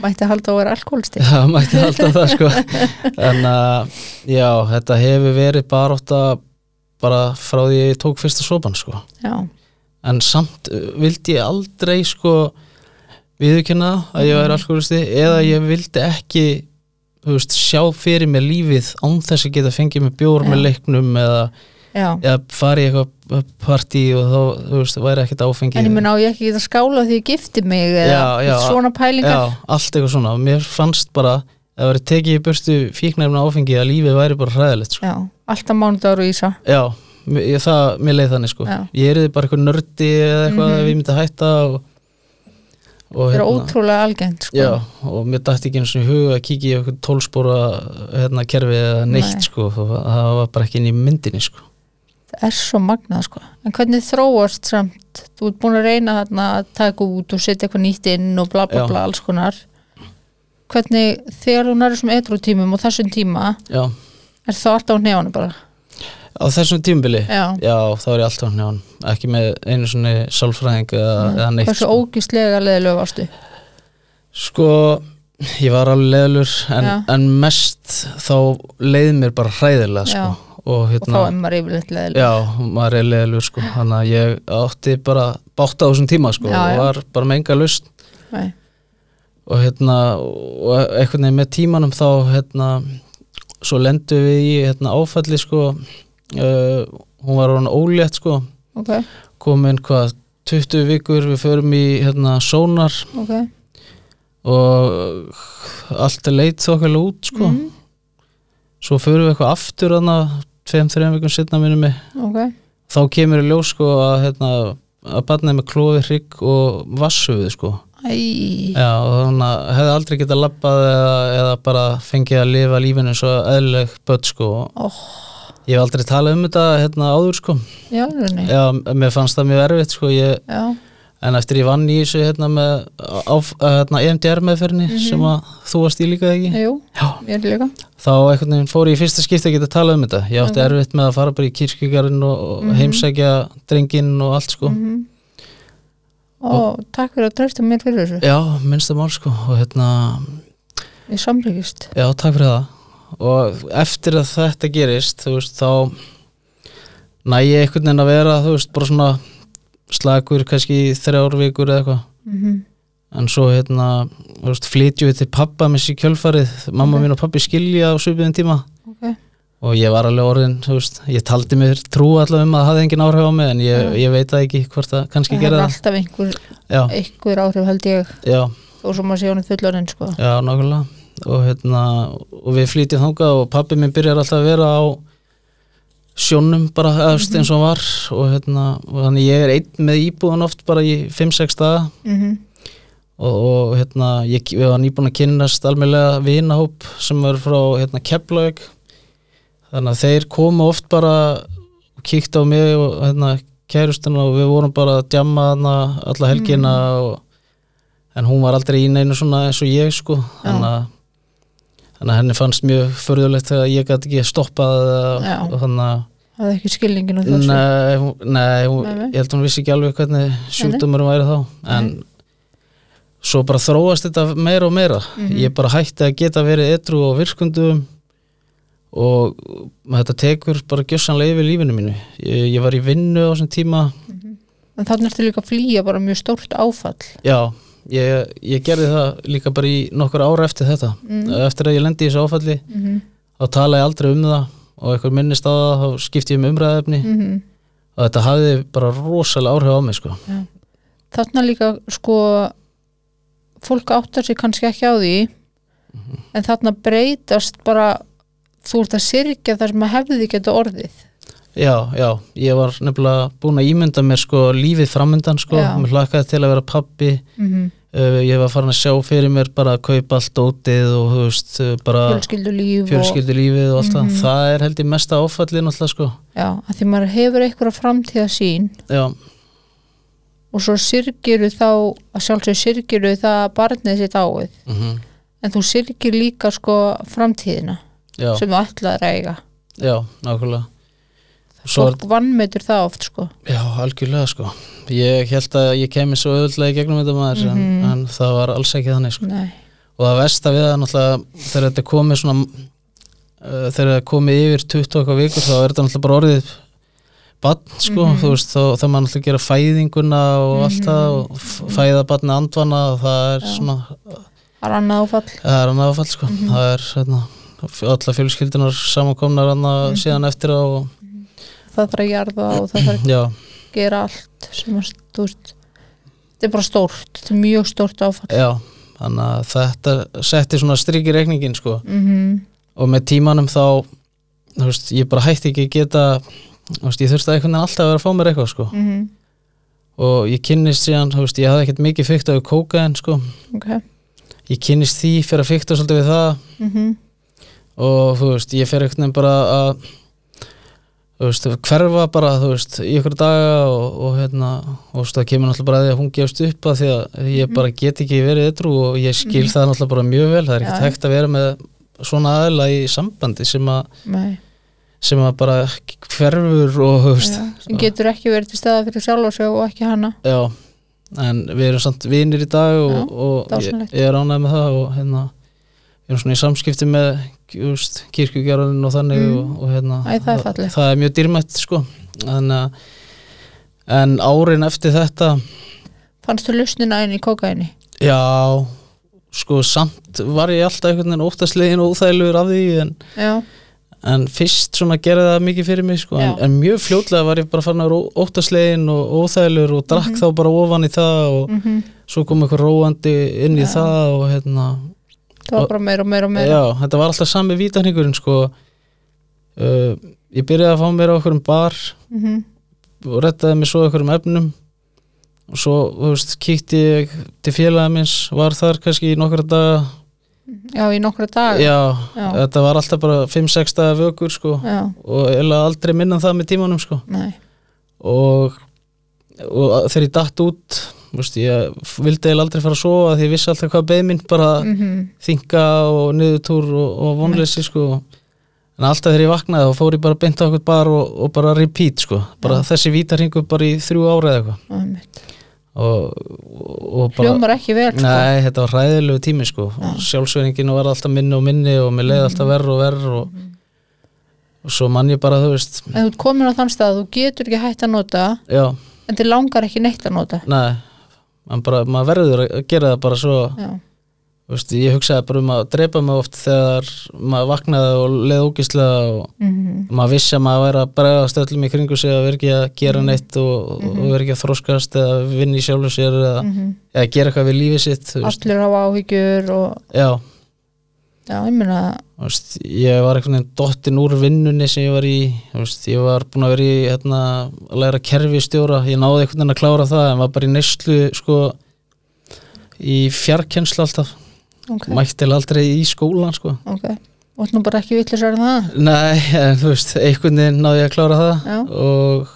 Speaker 1: mætti halda að vera alkoholsti
Speaker 2: Já, mætti alltaf það sko en að, já, þetta hefur verið bara bara frá því ég tók fyrsta sopan sko
Speaker 1: já,
Speaker 2: en samt uh, vildi ég aldrei sko viðurkenna að ég væri alkoholisti eða ég vildi ekki þú veist, sjá fyrir mér lífið án þess að geta fengið mér bjór með leiknum eða,
Speaker 1: já.
Speaker 2: eða fara í eitthvað partí og þá þú veist, væri ekkert áfengi
Speaker 1: en ég mun á ég ekki geta skála því ég gifti mig eða
Speaker 2: Já, já.
Speaker 1: svona
Speaker 2: Já,
Speaker 1: pælingar
Speaker 2: allt eitthvað svona mér fannst bara að það væri tekið í burtu fíknæfna áfengi að lífið væri bara hræðilegt sko.
Speaker 1: já. alltaf mánudagur og ísa
Speaker 2: Já, mér- ég, það, mér leið þannig sko
Speaker 1: Já. Mhm.
Speaker 2: ég erði bara eitthvað nördi eða eitthvað ef ég myndi hætta og, og hérna.
Speaker 1: það er ótrúlega algengt sko.
Speaker 2: Já, og mér dætti ekki eins og huga að kíkja í eitthvað tólspóra hérna, kerfi eða neitt
Speaker 1: Nei.
Speaker 2: sko, og það var bara ekki inn í myndinni sko.
Speaker 1: það er svo magnað sko. en hvernig þróast samt þú ert búin að reyna þarna að taka út og setja eitthvað nýtt inn og bla bla
Speaker 2: Já.
Speaker 1: bla alls konar hvernig þegar þú nærður sem etru tímum og þessum tíma
Speaker 2: Já,
Speaker 1: er það alltaf á nefnum bara
Speaker 2: á þessum tímbili
Speaker 1: já,
Speaker 2: þá er ég alltaf hann hann ekki með einu svona sálfræðing eða, eða neitt
Speaker 1: hversu
Speaker 2: sko.
Speaker 1: ógíslega leðilegu varstu
Speaker 2: sko, ég var alveg leðlur en,
Speaker 1: Já.
Speaker 2: en mest þá leið mér bara hræðilega sko.
Speaker 1: Já.
Speaker 2: og
Speaker 1: og þá
Speaker 2: hérna
Speaker 1: er maður yfirleitt leðilegu
Speaker 2: Já, maður er leðlur sko, þannig að ég átti bara bátt á þessum tíma sko,
Speaker 1: Já, já.
Speaker 2: og var bara með enga lust
Speaker 1: Nei.
Speaker 2: og hérna og einhvern veginn með tímanum þá hérna svo lendu við í hérna áfalli sko uh, hún var hann ólétt sko
Speaker 1: ok,
Speaker 2: komin hvað 20 vikur við förum í hérna sónar
Speaker 1: ok
Speaker 2: og allt er leit þokkalega út sko
Speaker 1: Mhm.
Speaker 2: svo förum við eitthvað aftur þarna 2-3 vikum setna minnum mig
Speaker 1: ok,
Speaker 2: þá kemur í ljós sko að hérna að barnið með klófi hrygg og vassuðu sko
Speaker 1: æj
Speaker 2: Já, og þannig að hefði aldrei getað labbað eða, eða bara fengið að lifa lífinu svo eðlileg börn sko
Speaker 1: oh,
Speaker 2: ég hef aldrei talað um þetta hérna áður sko
Speaker 1: já, já,
Speaker 2: Já, mér fannst það mjög erfitt sko ég,
Speaker 1: já,
Speaker 2: en eftir ég vann í þessu hérna með áf, hérna, EMDR meðferðinni sem að þú varst í líka ekki
Speaker 1: jú
Speaker 2: Já,
Speaker 1: ég er líka,
Speaker 2: þá einhvern veginn fór ég í fyrsta skipti að geta talað um þetta ég átti erfitt með að fara bara í kirkjugarinn Sko. og, og heimsækja drenginn og allt sko
Speaker 1: Mhm. og takk fyrir að treysta mér fyrir þessu
Speaker 2: já, minnsta mál sko og hérna,
Speaker 1: ég samlíkist
Speaker 2: já, takk fyrir það og eftir að þetta gerist þú veist, þá næ ég einhvern veginn að vera, þú veist, bara svona slagur, kannski í þrjár vikur eða eitthvað
Speaker 1: mm
Speaker 2: en svo hérna, þú veist, flytjum við til pappa með sér kjölfarið,
Speaker 1: Mhm.
Speaker 2: mamma mín og pappi skilja á svipiðin tíma
Speaker 1: ok,
Speaker 2: og ég var alveg orðin, þú veist, ég taldi mér trú allavega um að það hafði engin áhrif á mig en ég, ég veit það ekki hvort það kannski
Speaker 1: það er
Speaker 2: gera það
Speaker 1: alltaf einhver,
Speaker 2: já,
Speaker 1: einhver áhrif held ég
Speaker 2: já,
Speaker 1: og svo maður sé hún fullorinn sko
Speaker 2: já, nákvæmlega og hérna, og við flytjum þangað og pappi minn byrjar alltaf að vera á sjónum bara öfst
Speaker 1: Mhm.
Speaker 2: eins og hann var og hérna, og þannig ég er einn með íbúðan oft bara í 5-6 daga
Speaker 1: mm
Speaker 2: og, og hérna, ég við var nýbúin að kynnast almennlega vinahóp sem er frá hérna, Keflavík þannig að þeir komu oft bara og kíkti á mig og hérna, kærustuna og við vorum bara að djamma hana alla helgina og, en hún var aldrei í neinu svona eins og ég sko þannig að, þannig að henni fannst mjög förðulegt þegar ég gæti ekki stoppað og,
Speaker 1: Já.
Speaker 2: og þannig að
Speaker 1: það er ekki skilningin á þessu
Speaker 2: Nei, hún, nei, hún,
Speaker 1: Nei, nei.
Speaker 2: ég held hún vissi ekki alveg hvernig sjúkdómurum væri þá en svo bara þróast þetta meira og meira ég bara hætti að geta verið etru og virkundum og þetta tekur bara gjössanlega yfir lífinu mínu ég, ég var í vinnu á þessum tíma
Speaker 1: en þannig ertu líka að flýja bara mjög stórt áfall
Speaker 2: já, ég, ég gerði það líka bara í nokkur ára eftir þetta eftir að ég lendi í þessu áfalli
Speaker 1: mm -hmm.
Speaker 2: þá tala ég aldrei um það og eitthvað minnist á það, þá skipti ég um umræðefni
Speaker 1: Mhm.
Speaker 2: og þetta hafði bara rosalega áhrif á mig sko.
Speaker 1: þarna líka sko fólk áttar sig kannski ekki á því
Speaker 2: Mhm.
Speaker 1: en þarna breytast bara þú ert að syrgja þar sem að hefði geta orðið
Speaker 2: Já, já, ég var nefnilega búin að ímynda mér sko lífið framöndan sko,
Speaker 1: Já.
Speaker 2: mér hlakkaði til að vera pappi
Speaker 1: mm -hmm.
Speaker 2: uh, ég var farin að sjá fyrir mér bara að kaupa allt ótið og þú veist, uh, bara
Speaker 1: fjölskyldu líf
Speaker 2: fjölskyldu lífið og allt
Speaker 1: Mhm.
Speaker 2: það, það er held ég mesta áfallið náttúrulega sko,
Speaker 1: og, já, að því maður hefur einhverja framtíðasýn
Speaker 2: já,
Speaker 1: og svo syrgiru þá að sjálfsög syrgiru það að barnið sitt áið en þú syrgir líka sko framtíðina
Speaker 2: já,
Speaker 1: sem þú ætlaðir að eiga
Speaker 2: já, nákvæmlega Svo,
Speaker 1: fólk vannmetur það oft sko
Speaker 2: já, algjörlega sko ég held að ég kemi svo öðvöldlega í gegnum þetta maður
Speaker 1: Mhm.
Speaker 2: en, en það var alls ekki þannig sko
Speaker 1: Nei.
Speaker 2: og það versta við það náttúrulega þegar þetta er komið svona uh, þegar þetta er komið yfir 20 okkar vikur þá er þetta náttúrulega bara orðið bann sko, þú veist, þá þá maður náttúrulega gera fæðinguna og allt það og f- fæða barni andvana og það er svona,
Speaker 1: það er annað áfall
Speaker 2: það er hann áfall sko, það er hérna, alla fjölskyldunar samankomnar hann síðan eftir á og,
Speaker 1: það þarf að jarða og það þarf
Speaker 2: já,
Speaker 1: að gera allt sem að þú veist þetta er bara stórt, þetta er mjög stórt áfall
Speaker 2: já þannig að þetta setti svona strik í reikningin sko
Speaker 1: mm -hmm.
Speaker 2: og með tímanum þá þú veist, ég bara hætti ekki að geta þú veist, ég þurfti að einhvern veginn alltaf að vera að fá mér eitthvað sko.
Speaker 1: Mm
Speaker 2: og ég kynnist síðan, þú veist, ég hafði ekkert mikið fyrkt á kókaðin, sko
Speaker 1: ok
Speaker 2: ég kynnist því fyrir að fyrta svolítið við það
Speaker 1: mm
Speaker 2: og þú veist, ég fer einhvern veginn bara að þú veist, hverfa bara, þú veist, í ykkur daga og, og hérna, og þú veist, það kemur náttúrulega bara að því að hún gefst upp að því að ég bara get ekki verið ytrú og ég skil það náttúrulega bara mjög vel, það er ekkert
Speaker 1: Já.
Speaker 2: hægt að vera með svona aðla í sambandi sem að
Speaker 1: Nei.
Speaker 2: sem að bara hverfur og þú veist, sko.
Speaker 1: sem getur ekki verið til staða fyrir sjálf og sjá og ekki hana
Speaker 2: já. en við erum samt vinir í dag og,
Speaker 1: Já,
Speaker 2: og ég,
Speaker 1: dásamlegt.
Speaker 2: ég er ánægð með það og hérna við erum svona í samskipti með þú veist, kirkjugjörðin og þannig
Speaker 1: Mm.
Speaker 2: og, og hérna
Speaker 1: Æ, það er fallegt.
Speaker 2: það er mjög dýrmætt sko en, en árin eftir þetta
Speaker 1: fannstu lausnina inn í kókaini
Speaker 2: já sko samt var ég alltaf einhvern veginn óttaslegin og óþægilegur af því en,
Speaker 1: já,
Speaker 2: en fyrst svona gerði það mikið fyrir mig sko, en,
Speaker 1: Já.
Speaker 2: en mjög fljótlega var ég bara farin að vera óttaslegin og óþægilegur og drakk
Speaker 1: Mhm.
Speaker 2: þá bara ofan í það og
Speaker 1: mm
Speaker 2: svo kom eitthvað róandi inn í það og hérna
Speaker 1: það var bara meira og meira og meira
Speaker 2: já, þetta var alltaf sami vítanhingurinn sko uh, ég byrjaði að fá mér á einhverjum bar
Speaker 1: mm
Speaker 2: og rettaði mér svo einhverjum efnum og svo, þú veist, kíkti ég til félaga minns, var þar kannski í nokkra daga,
Speaker 1: já, í nokkra daga
Speaker 2: já,
Speaker 1: Já.
Speaker 2: þetta var alltaf bara 5-6 daga vökur sko
Speaker 1: já.
Speaker 2: og eiginlega aldrei minna það með tímanum sko
Speaker 1: Nei.
Speaker 2: og, og að- þegar ég datt út þú veist, ég vildi eiginlega aldrei fara að sofa því ég vissi alltaf hvað beð minn bara
Speaker 1: Mm -hmm.
Speaker 2: þinga og niðurtúr og, og vonleysi sko en alltaf þegar ég vaknaði þá fór ég bara beint á okkur bar og, og bara repeat sko bara þessi vítarhingu bara í þrjú ára eða eitthvað
Speaker 1: Æmitt.
Speaker 2: og og, og bara
Speaker 1: hljómar ekki vel sko.
Speaker 2: Nei, þetta var hræðilegu tími sko sjálfsveringin var alltaf minni og minni og mér
Speaker 1: Mm.
Speaker 2: leiði alltaf verð og verð og, og svo mann ég bara, þú veist
Speaker 1: en þú ert komin á þann stað, að þú getur ekki hægt að nota
Speaker 2: já,
Speaker 1: en þið langar ekki neitt að nota
Speaker 2: nei en bara, maður verður að gera það bara svo
Speaker 1: já,
Speaker 2: þú veist, ég hugsaði bara um að drepa mig oft þegar maður vaknaði og leiði ógislega og
Speaker 1: Mhm.
Speaker 2: maður vissi að maður væri að bregðast öllum í kringu sig að vera ekki að gera neitt og, og vera ekki að þróskast eða vinna í sjálfu sér eða,
Speaker 1: Mhm.
Speaker 2: eða gera eitthvað við lífið sitt þú veist,
Speaker 1: allir hafa áhyggjur og
Speaker 2: já
Speaker 1: já, ég meina
Speaker 2: Þú veist, ég var einhvern veginn dottin úr vinnunni sem ég var í þú veist, ég var búin að vera í hérna, að læra kerfi stjóra, ég náði einhvern veginn að klára það en var bara í neyslu sko, í fjarkenslu alltaf
Speaker 1: ok,
Speaker 2: mætti eiginlega aldrei í skólan sko.
Speaker 1: ok og þú bara ekki villisar en það
Speaker 2: nei, en, þú veist, einhvern veginn náði ég að klára það
Speaker 1: Já.
Speaker 2: og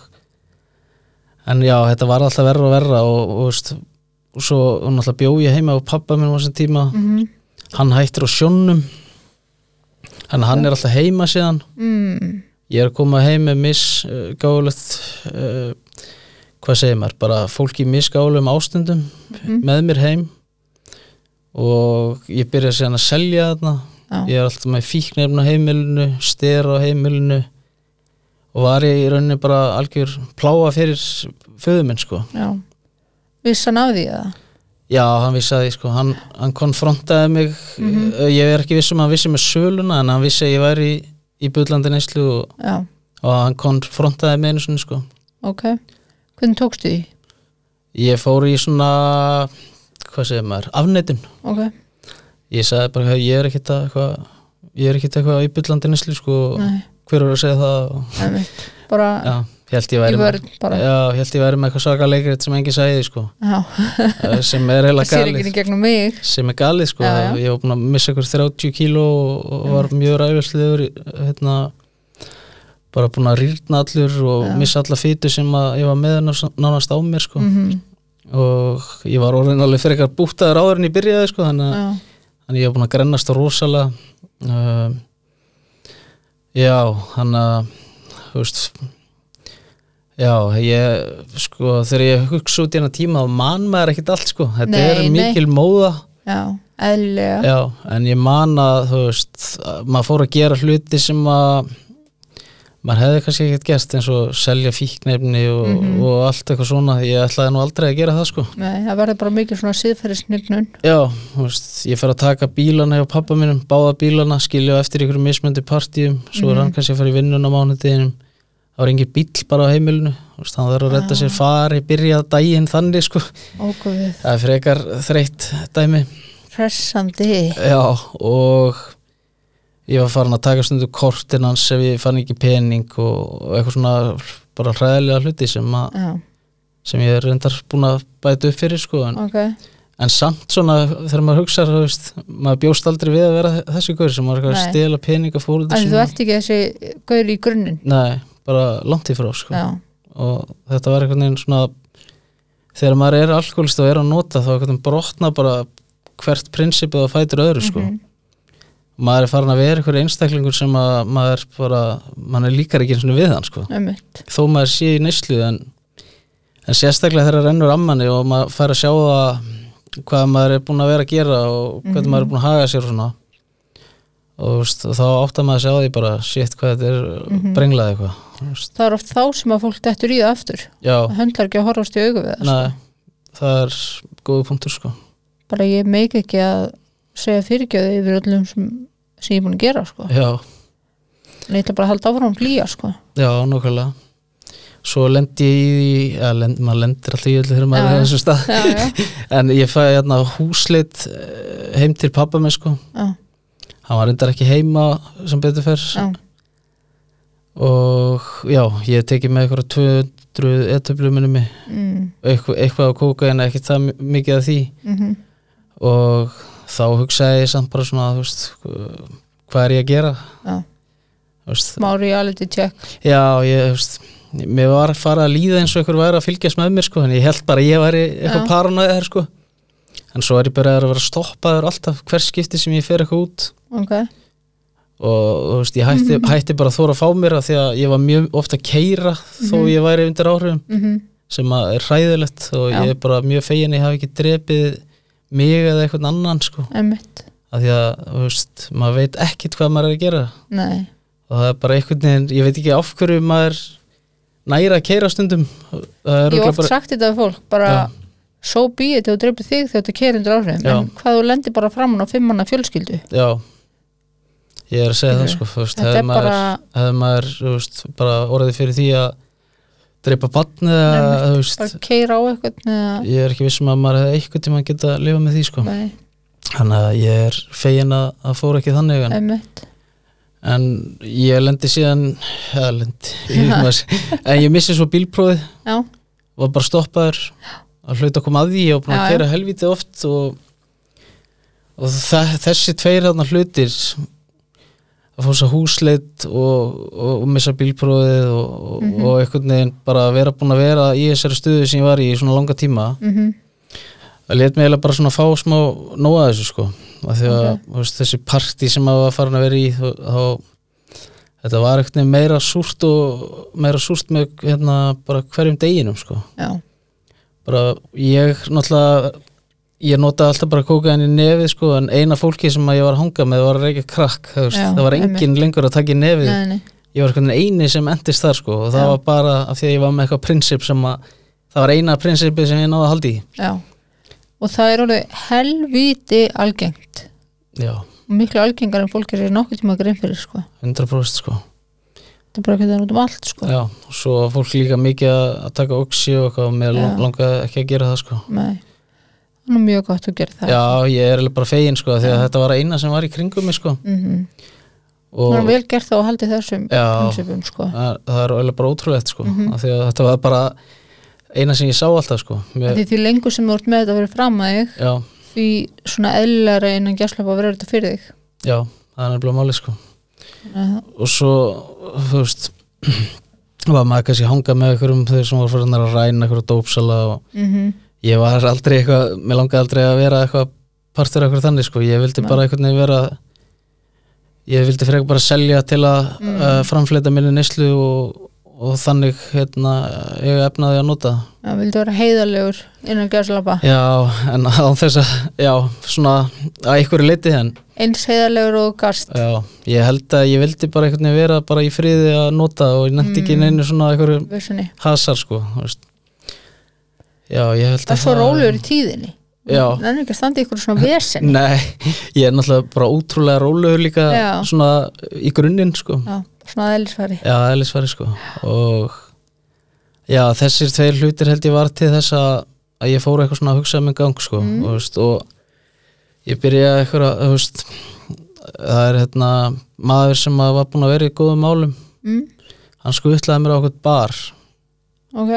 Speaker 2: en já, þetta var alltaf verra og verra og, og, veist, og svo hún alltaf bjó ég heima og pappa minn var sem tíma
Speaker 1: mm
Speaker 2: hann hættir á sjónum en hann er alltaf heima síðan
Speaker 1: mm.
Speaker 2: Ég er að koma heim með misgálegt uh, hvað segir maður, bara fólk í misgálum ástundum með mér heim og ég byrja síðan að selja þarna
Speaker 1: Já.
Speaker 2: ég er alltaf með fíknefna heimilinu stera á heimilinu og var ég í rauninni bara algjör pláa fyrir föðuminn sko
Speaker 1: já vissan af því eða
Speaker 2: Já, hann vissi að ég sko, hann, hann konfrontaði mig uh, ég er ekki viss um að hann vissi með söluna en hann vissi að ég væri í, í bullandi neyslu og,
Speaker 1: já,
Speaker 2: og hann konfrontaði mig einu sinni sko
Speaker 1: ok hvernig tókstu því,
Speaker 2: Ég fór í svona hvað segir maður, afneitun
Speaker 1: ok
Speaker 2: ég sagði bara "Hey, ég er ekkit að eitthvað ég er ekkit eitthvað íbyllandi neslu sko og
Speaker 1: Nei.
Speaker 2: hver er að segja það og,
Speaker 1: einmitt. bara
Speaker 2: já, ég held ég
Speaker 1: í
Speaker 2: væri með
Speaker 1: vörn bara
Speaker 2: já, ég held ég væri með eitthvað svaka leikrit sem engin sagði sko
Speaker 1: já,
Speaker 2: eh, sem er
Speaker 1: það
Speaker 2: heila
Speaker 1: sér ekki í
Speaker 2: galið
Speaker 1: gegnum mig
Speaker 2: sem er galið sko,
Speaker 1: Já, já.
Speaker 2: ég var búin að missa ykkur 30 kíló og, og var mjög ræfislegur hérna bara búin að rýrna allur og missa alla fýtu sem að ég var með nánast- nánast á mér sko
Speaker 1: mm
Speaker 2: og ég var orðin alveg fyrir eitthvað bútaður áður en ég byrjaði sko, þannig,
Speaker 1: já,
Speaker 2: að, þannig að ég var búin að grennast rosalega um, já, þannig að þú veist já, ég sko þegar ég hugsa út í hennar tíma þá man maður ekkert allt sko, þetta
Speaker 1: Nei,
Speaker 2: er
Speaker 1: nei.
Speaker 2: mikil móða
Speaker 1: já, eðlilega
Speaker 2: já, en ég man að þú veist, að maður fór að gera hluti sem að maður hefði kannski ekkert gert eins og selja fíknefni og,
Speaker 1: Mhm.
Speaker 2: og allt eitthvað svona ég ætlaði nú aldrei að gera það sko
Speaker 1: Nei, það verður bara mikið svona siðferðisnignun
Speaker 2: Já, þú veist, ég fer að taka bílana hjá pappa mínum, báða bílana, skilja á eftir ykkur mismöndi partíum, svo er hann kannski að fara í vinnun á mánudeginum, það var engin bíll bara á heimilinu, þú veist, hann þarf að redda sér fari, byrja daginn þannig, sko,
Speaker 1: Ógöfið,
Speaker 2: það er frekar þreytt dæmi.
Speaker 1: pressandi
Speaker 2: Já, og ég var farin að taka stundu kortin hans ef ég fann ekki pening og og eitthvað svona bara hræðilega hluti sem, að,
Speaker 1: Já,
Speaker 2: sem ég er reyndar búin að bæta upp fyrir, sko, en
Speaker 1: ok
Speaker 2: en samt svona þegar maður hugsa þú veist, maður bjóst aldrei við að vera þessi gaur sem maður er eitthvað
Speaker 1: Nei.
Speaker 2: að stela peninga fóruð
Speaker 1: Þannig þú ert ekki þessi gaur í grunninn
Speaker 2: nei, bara langt í frá sko.
Speaker 1: Já,
Speaker 2: og þetta var einhvern veginn svona þegar maður er alkoholist og er að nota þá einhvern veginn brotna bara hvert prinsipið og fætur öðru sko.
Speaker 1: Mhm.
Speaker 2: maður er farin að vera einhver einstaklingur sem að maður bara maður líkar ekki eins og við hann sko.
Speaker 1: ömmit
Speaker 2: þó maður sé í neyslu en, en sérstaklega þegar það rennur ammanni og maður fær að sjá það hvað maður er búin að vera að gera og hvernig
Speaker 1: Mhm.
Speaker 2: maður er búin að haga sér og svona og þú veist, þá áttar maður sér á því bara shit hvað þetta er mm
Speaker 1: Mhm.
Speaker 2: brenglað eitthvað þú veist.
Speaker 1: Það er oft þá sem að fólk dettur í það aftur
Speaker 2: já,
Speaker 1: Það höndlar ekki að horfast í augu við það sko.
Speaker 2: neða það er góðu punktur sko
Speaker 1: Bara ég meik ekki að segja fyrirgjöðu yfir öllum sem, sem ég er búin að gera sko.
Speaker 2: já,
Speaker 1: En ég ætla bara að halda áfram að glýja sko.
Speaker 2: já, nokkvæmlega svo lendi ég í því eða lend, maður lendir alltaf í öllu þegar
Speaker 1: Já,
Speaker 2: maður
Speaker 1: já.
Speaker 2: er á þessum stað
Speaker 1: Já, já,
Speaker 2: en ég fæði hérna húsleitt eh, heim til pappa minn sko
Speaker 1: já,
Speaker 2: hann var reyndar ekki heima sem betur fer
Speaker 1: já,
Speaker 2: og já, ég teki með eitthvað 200 etöflum minni mig
Speaker 1: mm,
Speaker 2: eitthvað, eitthvað á kóka en ekki það mi- mikið af því
Speaker 1: mhm,
Speaker 2: og þá hugsaði ég samt bara svona þú veist, hva- hvað er ég að gera
Speaker 1: já
Speaker 2: Þú veist,
Speaker 1: Smá reality check
Speaker 2: já, ég þú veist, mér var farið að líða eins og eitthvað væri að fylgjast með mér sko, en ég held bara að ég væri
Speaker 1: Já.
Speaker 2: eitthvað paranoiðar sko en svo er ég bara að vera stoppaður alltaf hvers skipti sem ég fer eitthvað út
Speaker 1: Ok,
Speaker 2: og þú veist, ég hætti, hætti bara að þóra að fá mér að því að ég var mjög ofta að keira þó ég væri undir áhrifum
Speaker 1: mhm,
Speaker 2: sem að er hræðilegt og
Speaker 1: Já.
Speaker 2: ég er bara mjög fegin að ég hafi ekki drepið mig eða eitthvað annan sko
Speaker 1: emmitt,
Speaker 2: af því að, þú veist, maður veit ekkit hvað maður er að gera
Speaker 1: nei
Speaker 2: og það er bara einhvern veginn, ég veit ekki af hverju maður næra að keira stundum það er
Speaker 1: ég hef
Speaker 2: örugglega
Speaker 1: oft sagt þetta við fólk bara
Speaker 2: Já.
Speaker 1: so be it þegar þú dreipir þig þegar þú keirir undir áhrifum
Speaker 2: Já.
Speaker 1: en hvað þú lendir bara framan á fimmanna fjölskyldu
Speaker 2: já, ég er að segja það
Speaker 1: Skilurðu?
Speaker 2: sko þú veist,
Speaker 1: þetta
Speaker 2: hefði
Speaker 1: er
Speaker 2: maður,
Speaker 1: bara
Speaker 2: hefði maður þú veist, bara orðið fyrir því að dreipa batn eða,
Speaker 1: Nei,
Speaker 2: þú veist,
Speaker 1: bara keira á eitthvað neða,
Speaker 2: ég er ekki viss um að maður hefði eitthvað tíma að geta að lifa með því sko
Speaker 1: nei,
Speaker 2: þannig að ég er fegin að, að fóra ekki þannig en,
Speaker 1: emmitt
Speaker 2: en ég lendi síðan eða lendi, ég veit maður en ég missi svo bílprófið
Speaker 1: já,
Speaker 2: var bara stoppaður að hlauta að koma að því ég var
Speaker 1: Já,
Speaker 2: búin að
Speaker 1: já.
Speaker 2: gera helvítið oft og, og þe- þessi tveir þarna hlutir að fósa húsleitt og, og, og missa bílprófið og, og,
Speaker 1: Mhm.
Speaker 2: og einhvern veginn bara að vera búin að vera í þessari stuðu sem ég var í í svona langa tíma
Speaker 1: mhm,
Speaker 2: það let mig eiginlega bara svona fá smá nóa þessu sko að því að
Speaker 1: Ok.
Speaker 2: þú veist, þessi partí sem maður var farin að vera í þá, þá þetta var einhvern veginn meira súrt og meira súrt með hérna bara hverjum deginum sko
Speaker 1: já
Speaker 2: bara ég náttúrulega ég notaði alltaf bara kókaðin í nefið sko, en eina fólki sem að ég var að hanga með var að reykja krakk, þú veist,
Speaker 1: Já,
Speaker 2: það var engin lengur að taka í nefið,
Speaker 1: nei, nei,
Speaker 2: ég var einhvern veginn eini sem endist þar sko, og það
Speaker 1: Já.
Speaker 2: var bara af því að ég var með eitthvað prinsip sem að það var eina prinsipið sem ég náði að haldi í
Speaker 1: já og það er alveg helvíti algengt
Speaker 2: já,
Speaker 1: og miklu algengar en fólk er nokkuð tíma grein fyrir sko.
Speaker 2: 100% sko
Speaker 1: það er bara hvernig það er út um allt sko.
Speaker 2: já, og svo var fólk líka mikið að að taka oxi og eitthvað, og mér
Speaker 1: Já.
Speaker 2: langaði ekki að gera það sko
Speaker 1: nei, það er nú mjög gott að gera það
Speaker 2: já, ég er eiginlega bara fegin sko, af því að þetta var eina sem var í kringum mig sko
Speaker 1: mm -hmm.
Speaker 2: og
Speaker 1: er vel gert þá að haldi þessum
Speaker 2: Já.
Speaker 1: prinsipum sko.
Speaker 2: það það er alveg bara ótrúlegt sko
Speaker 1: Mhm.
Speaker 2: mm því að þetta var bara eina sem ég sá alltaf sko
Speaker 1: Af
Speaker 2: Mér,
Speaker 1: því því lengur sem þú ert með þetta fyrir fram að þig
Speaker 2: já,
Speaker 1: því svona eðlæra innan gæslapa verður þetta fyrir þig
Speaker 2: já, það er nefnilega máli sko
Speaker 1: Þannig að það-
Speaker 2: og svo, þú veist var maður kannski hangað með einhverjum þeir sem voru fyrir að ræna einhverju dópsala og
Speaker 1: mhm,
Speaker 2: ég var aldrei eitthvað mér langaði aldrei að vera eitthvað partur af eitthvað þannig sko, ég vildi
Speaker 1: Nei.
Speaker 2: bara einhvern veginn vera ég vildi frekar bara selja til að mm.
Speaker 1: Mm.
Speaker 2: framfleyta minni neyslu og, og þannig hérna, ég efnaði að nota það
Speaker 1: já, vildu vera heiðalegur innan gæslapa
Speaker 2: Já, en á þess að, já, svona að einhverju leiti henn,
Speaker 1: eins heiðalegur og þú gast
Speaker 2: já, ég held að ég vildi bara einhvern veginn vera bara í friði að nota og ég nefndi ekki
Speaker 1: Mm.
Speaker 2: neinu svona einhverju
Speaker 1: vissunni,
Speaker 2: hasar, sko, þú veist. Já, ég held að
Speaker 1: það er svo rólegur í tíðinni
Speaker 2: Já.
Speaker 1: það er ekki að standa í ykkur svona vesin
Speaker 2: Nei, ég er náttúrulega bara ótrúlega rólegur líka
Speaker 1: Já.
Speaker 2: svona í grunninn, sko.
Speaker 1: já, svona eðlisfari
Speaker 2: Já, eðlisfari, sko. Og já, þessir tveir hlutir held ég var til þess að, að ég fór eitthvað svona að hugsa um en gang, sko.
Speaker 1: Mm.
Speaker 2: þú veist, og ég byrjaði eitthvað að, þú veist, það er hérna maður sem að var búin að vera í góðum málum
Speaker 1: mm,
Speaker 2: hann skutlaði mér á eitthvað bar
Speaker 1: ok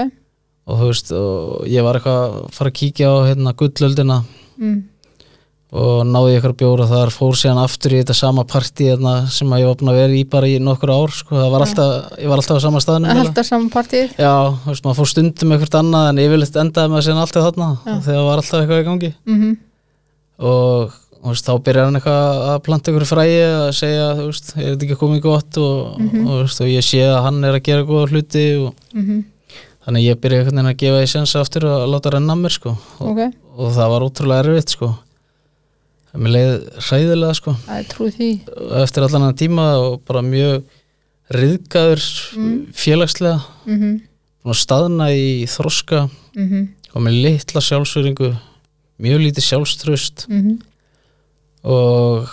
Speaker 2: og þú veist, og ég var eitthvað að fara að kíkja á hérna gullöldina
Speaker 1: mm,
Speaker 2: og náði ykkur bjóra þar, fór síðan aftur í þetta sama partí hérna, sem að ég var búin að vera í bara í nokkur ár, sko, það var alltaf ég var alltaf á sama staðnum
Speaker 1: að
Speaker 2: eiginlega.
Speaker 1: halda saman partíð
Speaker 2: Já, þú veist, maður fór stundum með eitthvað annað en yfirleitt endaði maður síðan alltaf þarna
Speaker 1: Já.
Speaker 2: þegar það var alltaf eitthvað í gangi
Speaker 1: mm -hmm.
Speaker 2: og þú veist, þá byrjar hann eitthvað að planta ykkur fræi að segja, þú veist, er þetta ekki komið gott og,
Speaker 1: Mhm.
Speaker 2: og, þú veist, og ég sé að hann er að gera góða hluti og þannig að ég byrja einhvern veginn að gefa því sensa aftur að láta renna að mér sko og,
Speaker 1: ok,
Speaker 2: og það var ótrúlega erfitt sko en mér leið hræðilega sko
Speaker 1: það er trúið því
Speaker 2: eftir allan hann tíma og bara mjög riðgaður félagslega
Speaker 1: mm -hmm.
Speaker 2: búin að staðna í þroska
Speaker 1: Mm -hmm.
Speaker 2: og með litla sjálfsöringu mjög lítið sjálfströst
Speaker 1: Mm -hmm.
Speaker 2: og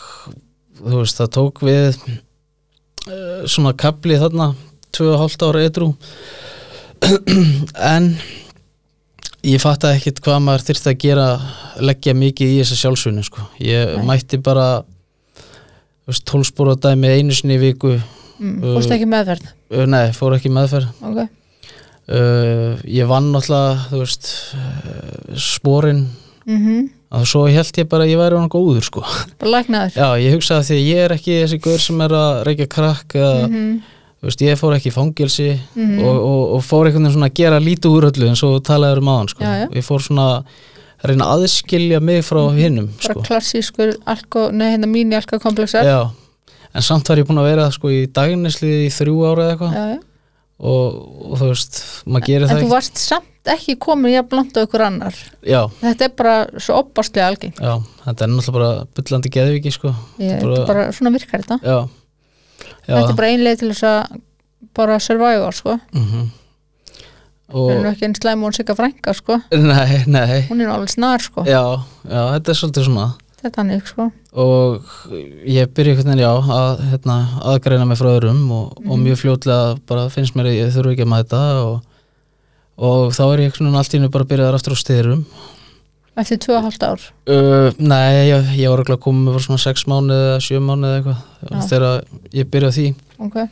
Speaker 2: þú veist það tók við uh, svona kapli þarna 2,5 ára edru en ég fattaði ekkit hvað maður þyrfti að gera leggja mikið í þessa sjálfsögnu sko. ég
Speaker 1: Nei.
Speaker 2: mætti bara þú veist, 12 spóra dæmi einu sinni í viku
Speaker 1: Mm, fórstu ekki meðverð
Speaker 2: Uh, nei, fór ekki í meðferð
Speaker 1: ok,
Speaker 2: uh, ég vann náttúrulega þú veist uh, spórin
Speaker 1: mm
Speaker 2: að svo held ég bara að ég væri hann góður sko.
Speaker 1: bara læknaður
Speaker 2: Já, ég hugsaði því að ég er ekki þessi gaur sem er að reykja krakk eða,
Speaker 1: mm -hmm.
Speaker 2: þú veist, ég fór ekki í fangelsi
Speaker 1: Mhm.
Speaker 2: og, og, og fór einhvern veginn svona að gera lítið úr öllu eins og þú talaðir um aðan sko.
Speaker 1: Já, já.
Speaker 2: og ég fór svona að reyna að aðskilja mig frá hinnum
Speaker 1: bara
Speaker 2: sko.
Speaker 1: klassískur alko, nei, hérna mínu alkokomplexar
Speaker 2: Já, en samt var ég búin að vera sko, í daginnesli í þrjú ára eða eitthvað
Speaker 1: já, já.
Speaker 2: og, og þú veist, maður gerir
Speaker 1: en
Speaker 2: það
Speaker 1: þú
Speaker 2: ekki
Speaker 1: varst samt ekki komin jafn langt á ykkur annar
Speaker 2: já,
Speaker 1: þetta er bara svo opbárslega algengt
Speaker 2: já, þetta er náttúrulega bara bullandi geðviki sko
Speaker 1: ég,
Speaker 2: bara-
Speaker 1: þetta er bara, svona virkar þetta
Speaker 2: já, já
Speaker 1: þetta er bara einlega til þess að bara survive sko,
Speaker 2: mhm.
Speaker 1: það er nú
Speaker 2: og,
Speaker 1: ekki einn slæm og hún sigga frænka sko,
Speaker 2: nei, nei
Speaker 1: hún er nú alveg snar sko,
Speaker 2: já, já, þetta er svolítið svona
Speaker 1: þetta er hannig sko
Speaker 2: og ég byrja einhvern veginn já að hérna, aðgreina mig frá öðrum og, og
Speaker 1: Mhm.
Speaker 2: mjög fljótlega bara finnst mér að ég þurfi ekki að mæta og, og þá er ég einhvern veginn allt í hennu bara byrjaðar aftur á styrum
Speaker 1: eftir 2,5 ár
Speaker 2: uh, nei, ég, ég var ekki að koma með bara svona 6 mánuð eða 7 mánuð eða
Speaker 1: Já.
Speaker 2: eitthvað þegar ég byrjaði á því
Speaker 1: okay.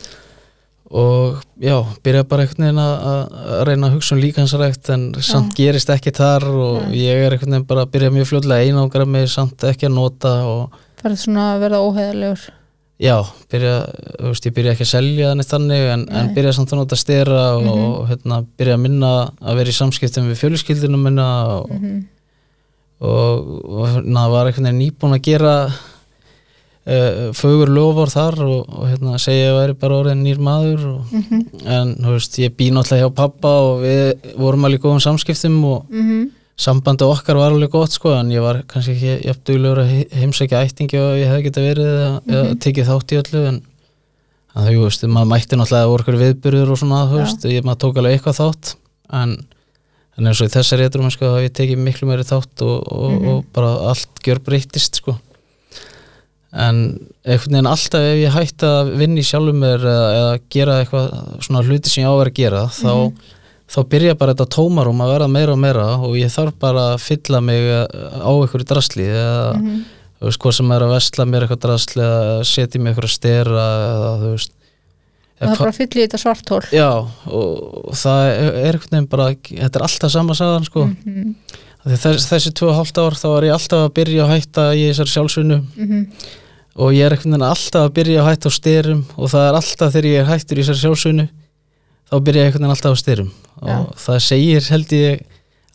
Speaker 2: og já, byrjaði bara einhvern veginn að, að að reyna að hugsa um líkansrækt en samt gerist ekki þar og ég er einhvern veginn bara að byrja mjög fljótlega að einangra mig samt ekki að nota og
Speaker 1: farið svona að verða óheðalegur
Speaker 2: Já, byrja, þú veist, ég byrja ekki að selja þannig þannig en, en byrja samt að nota stera og hérna, byrja að minna að vera í samskiptum við fjöluskildinu minna og,
Speaker 1: Mhm,
Speaker 2: og, og hérna, var einhvern veginn nýbúin að gera uh, fögur lofar þar og, og hérna, segja að ég væri bara orðin nýr maður og, en þú veist, ég býn náttúrulega hjá pappa og við vorum alveg í góðum samskiptum og
Speaker 1: mm
Speaker 2: sambandi okkar var alveg gott sko en ég var kannski ekki jafnduglegur að hi- heimsækja ættingi og ég hefði geta verið eða mm tekið þátt í öllu en en þú veist, maður mætti náttúrulega að voru okkur viðbyrður og svona, þú
Speaker 1: Já.
Speaker 2: veist, ég, maður tók alveg eitthvað þátt en, en eins og í þessari etrum sko, þá hef ég tekið miklu meiri þátt og, og, og bara allt gjör breytist sko en einhvern veginn alltaf ef ég hætti að vinna í sjálfum mér eða, eða gera eitthvað svona hluti sem ég á að vera að gera þá þá byrja bara þetta tómarum að vera meira og meira og ég þarf bara að fylla mig eh, á einhverju drasli eða
Speaker 1: Mhm.
Speaker 2: þú veist hvað sem er að vesla mér eitthvað drasli eða setja í mig eitthvað stera eða þú veist
Speaker 1: það
Speaker 2: eða
Speaker 1: er bara að fylla í þetta svartól
Speaker 2: já og það er er einhvern veginn bara þetta er alltaf sama sagan sko mm
Speaker 1: Mhm.
Speaker 2: þess, þessi tvö og hálft ár þá er ég alltaf að byrja að hætta í þessari sjálfsvinnu
Speaker 1: Mhm.
Speaker 2: og ég er einhvern veginn alltaf að byrja að hætta á styrum og það er alltaf þegar ég er hættur í þessari sjálfsvinnu þá byrja ég einhvern veginn alltaf á styrum og
Speaker 1: Já.
Speaker 2: það segir held ég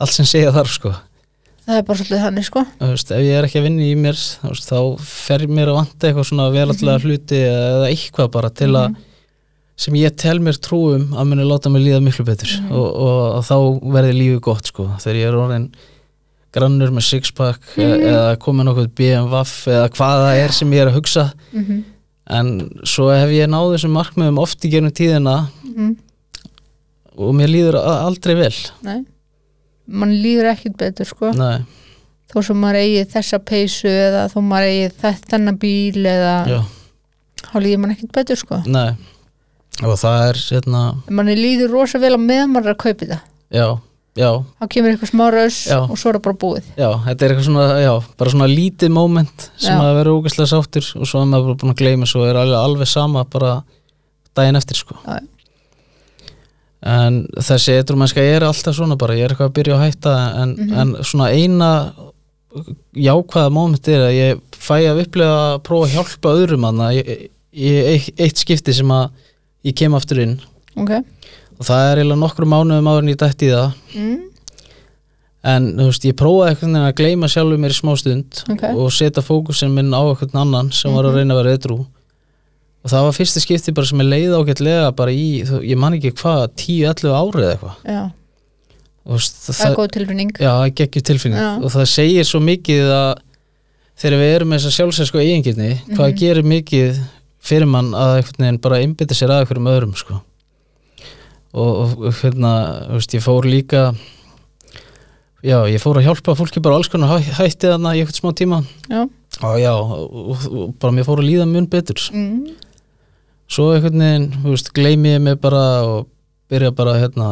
Speaker 2: allt sem segja þarf sko
Speaker 1: það er bara svolítið þannig sko
Speaker 2: Þú veist, ef ég er ekki að vinna í mér þú veist, þá fer mér að vanta eitthvað svona velallega hluti eða eitthvað bara til að sem ég tel mér trúum að muni láta mig líða miklu betur og, og þá verði lífið gott sko þegar ég er orðin grannur með sixpack mm eða komið nokkuð BMWF eða hvað það er sem ég er að hugsa
Speaker 1: mm
Speaker 2: en svo hef ég náð þessum markmiðum oft í gerum tíðina og mér líður a- aldrei vel
Speaker 1: nei mann líður ekkit betur sko
Speaker 2: Nei,
Speaker 1: þó sem maður eigi þessa peysu eða þó maður eigi þe- þennan bíl eða
Speaker 2: já,
Speaker 1: þá líður mann ekkit betur sko
Speaker 2: nei og það er hérna,
Speaker 1: mann líður rosa vel á meðan maður er að kaupi það
Speaker 2: já, já
Speaker 1: þá kemur eitthvað smá raus
Speaker 2: Já.
Speaker 1: og svo er það bara búið
Speaker 2: Já, þetta er eitthvað svona, já, bara svona lítið moment sem
Speaker 1: Já.
Speaker 2: að vera ógæslega sáttur og svo er maður bara búin að gleyma svo er alveg, alveg sama bara daginn eftir sko
Speaker 1: Já.
Speaker 2: en þessi eitrumennska er alltaf svona bara, ég er eitthvað að byrja að hætta en,
Speaker 1: Mhm.
Speaker 2: en svona eina jákvæða moment er að ég fæ að upplega að prófa að hjálpa öðrum hana, ég, ég, eitt skipti sem að ég kem aftur inn
Speaker 1: ok
Speaker 2: og það er eiginlega nokkru mánuðum áður en ég dætti í það
Speaker 1: mm.
Speaker 2: en þú veist, ég prófaði eitthvað veginn að gleyma sjálfur mér í smá stund
Speaker 1: Ok.
Speaker 2: og setja fókusin minn á eitthvað annan sem var að reyna að vera eitthrú og það var fyrsta skipti bara sem ég leið ágætlega bara í, þú, ég man ekki hvað 10-11 árið eða eitthvað
Speaker 1: já,
Speaker 2: Þú veist,
Speaker 1: það er góð tilfinning
Speaker 2: já, það geggjur tilfinning
Speaker 1: Já.
Speaker 2: og það segir svo mikið að þegar við erum með þessa sjálfsæsku eigingirni hvað
Speaker 1: Mhm.
Speaker 2: gerir mikið fyrir mann að einhvern veginn bara einbytta sér að einhverjum öðrum sko og, og, og hérna, þú veist, ég fór líka já, ég fór að hjálpa fólki bara á alls konar hæ- hætti þarna í eitthvað smá tíma
Speaker 1: já,
Speaker 2: og já, og, og, og bara mér fór að líða mun betur
Speaker 1: mm.
Speaker 2: svo einhvern veginn, þú veist, gleymi ég mig bara og byrja bara hérna,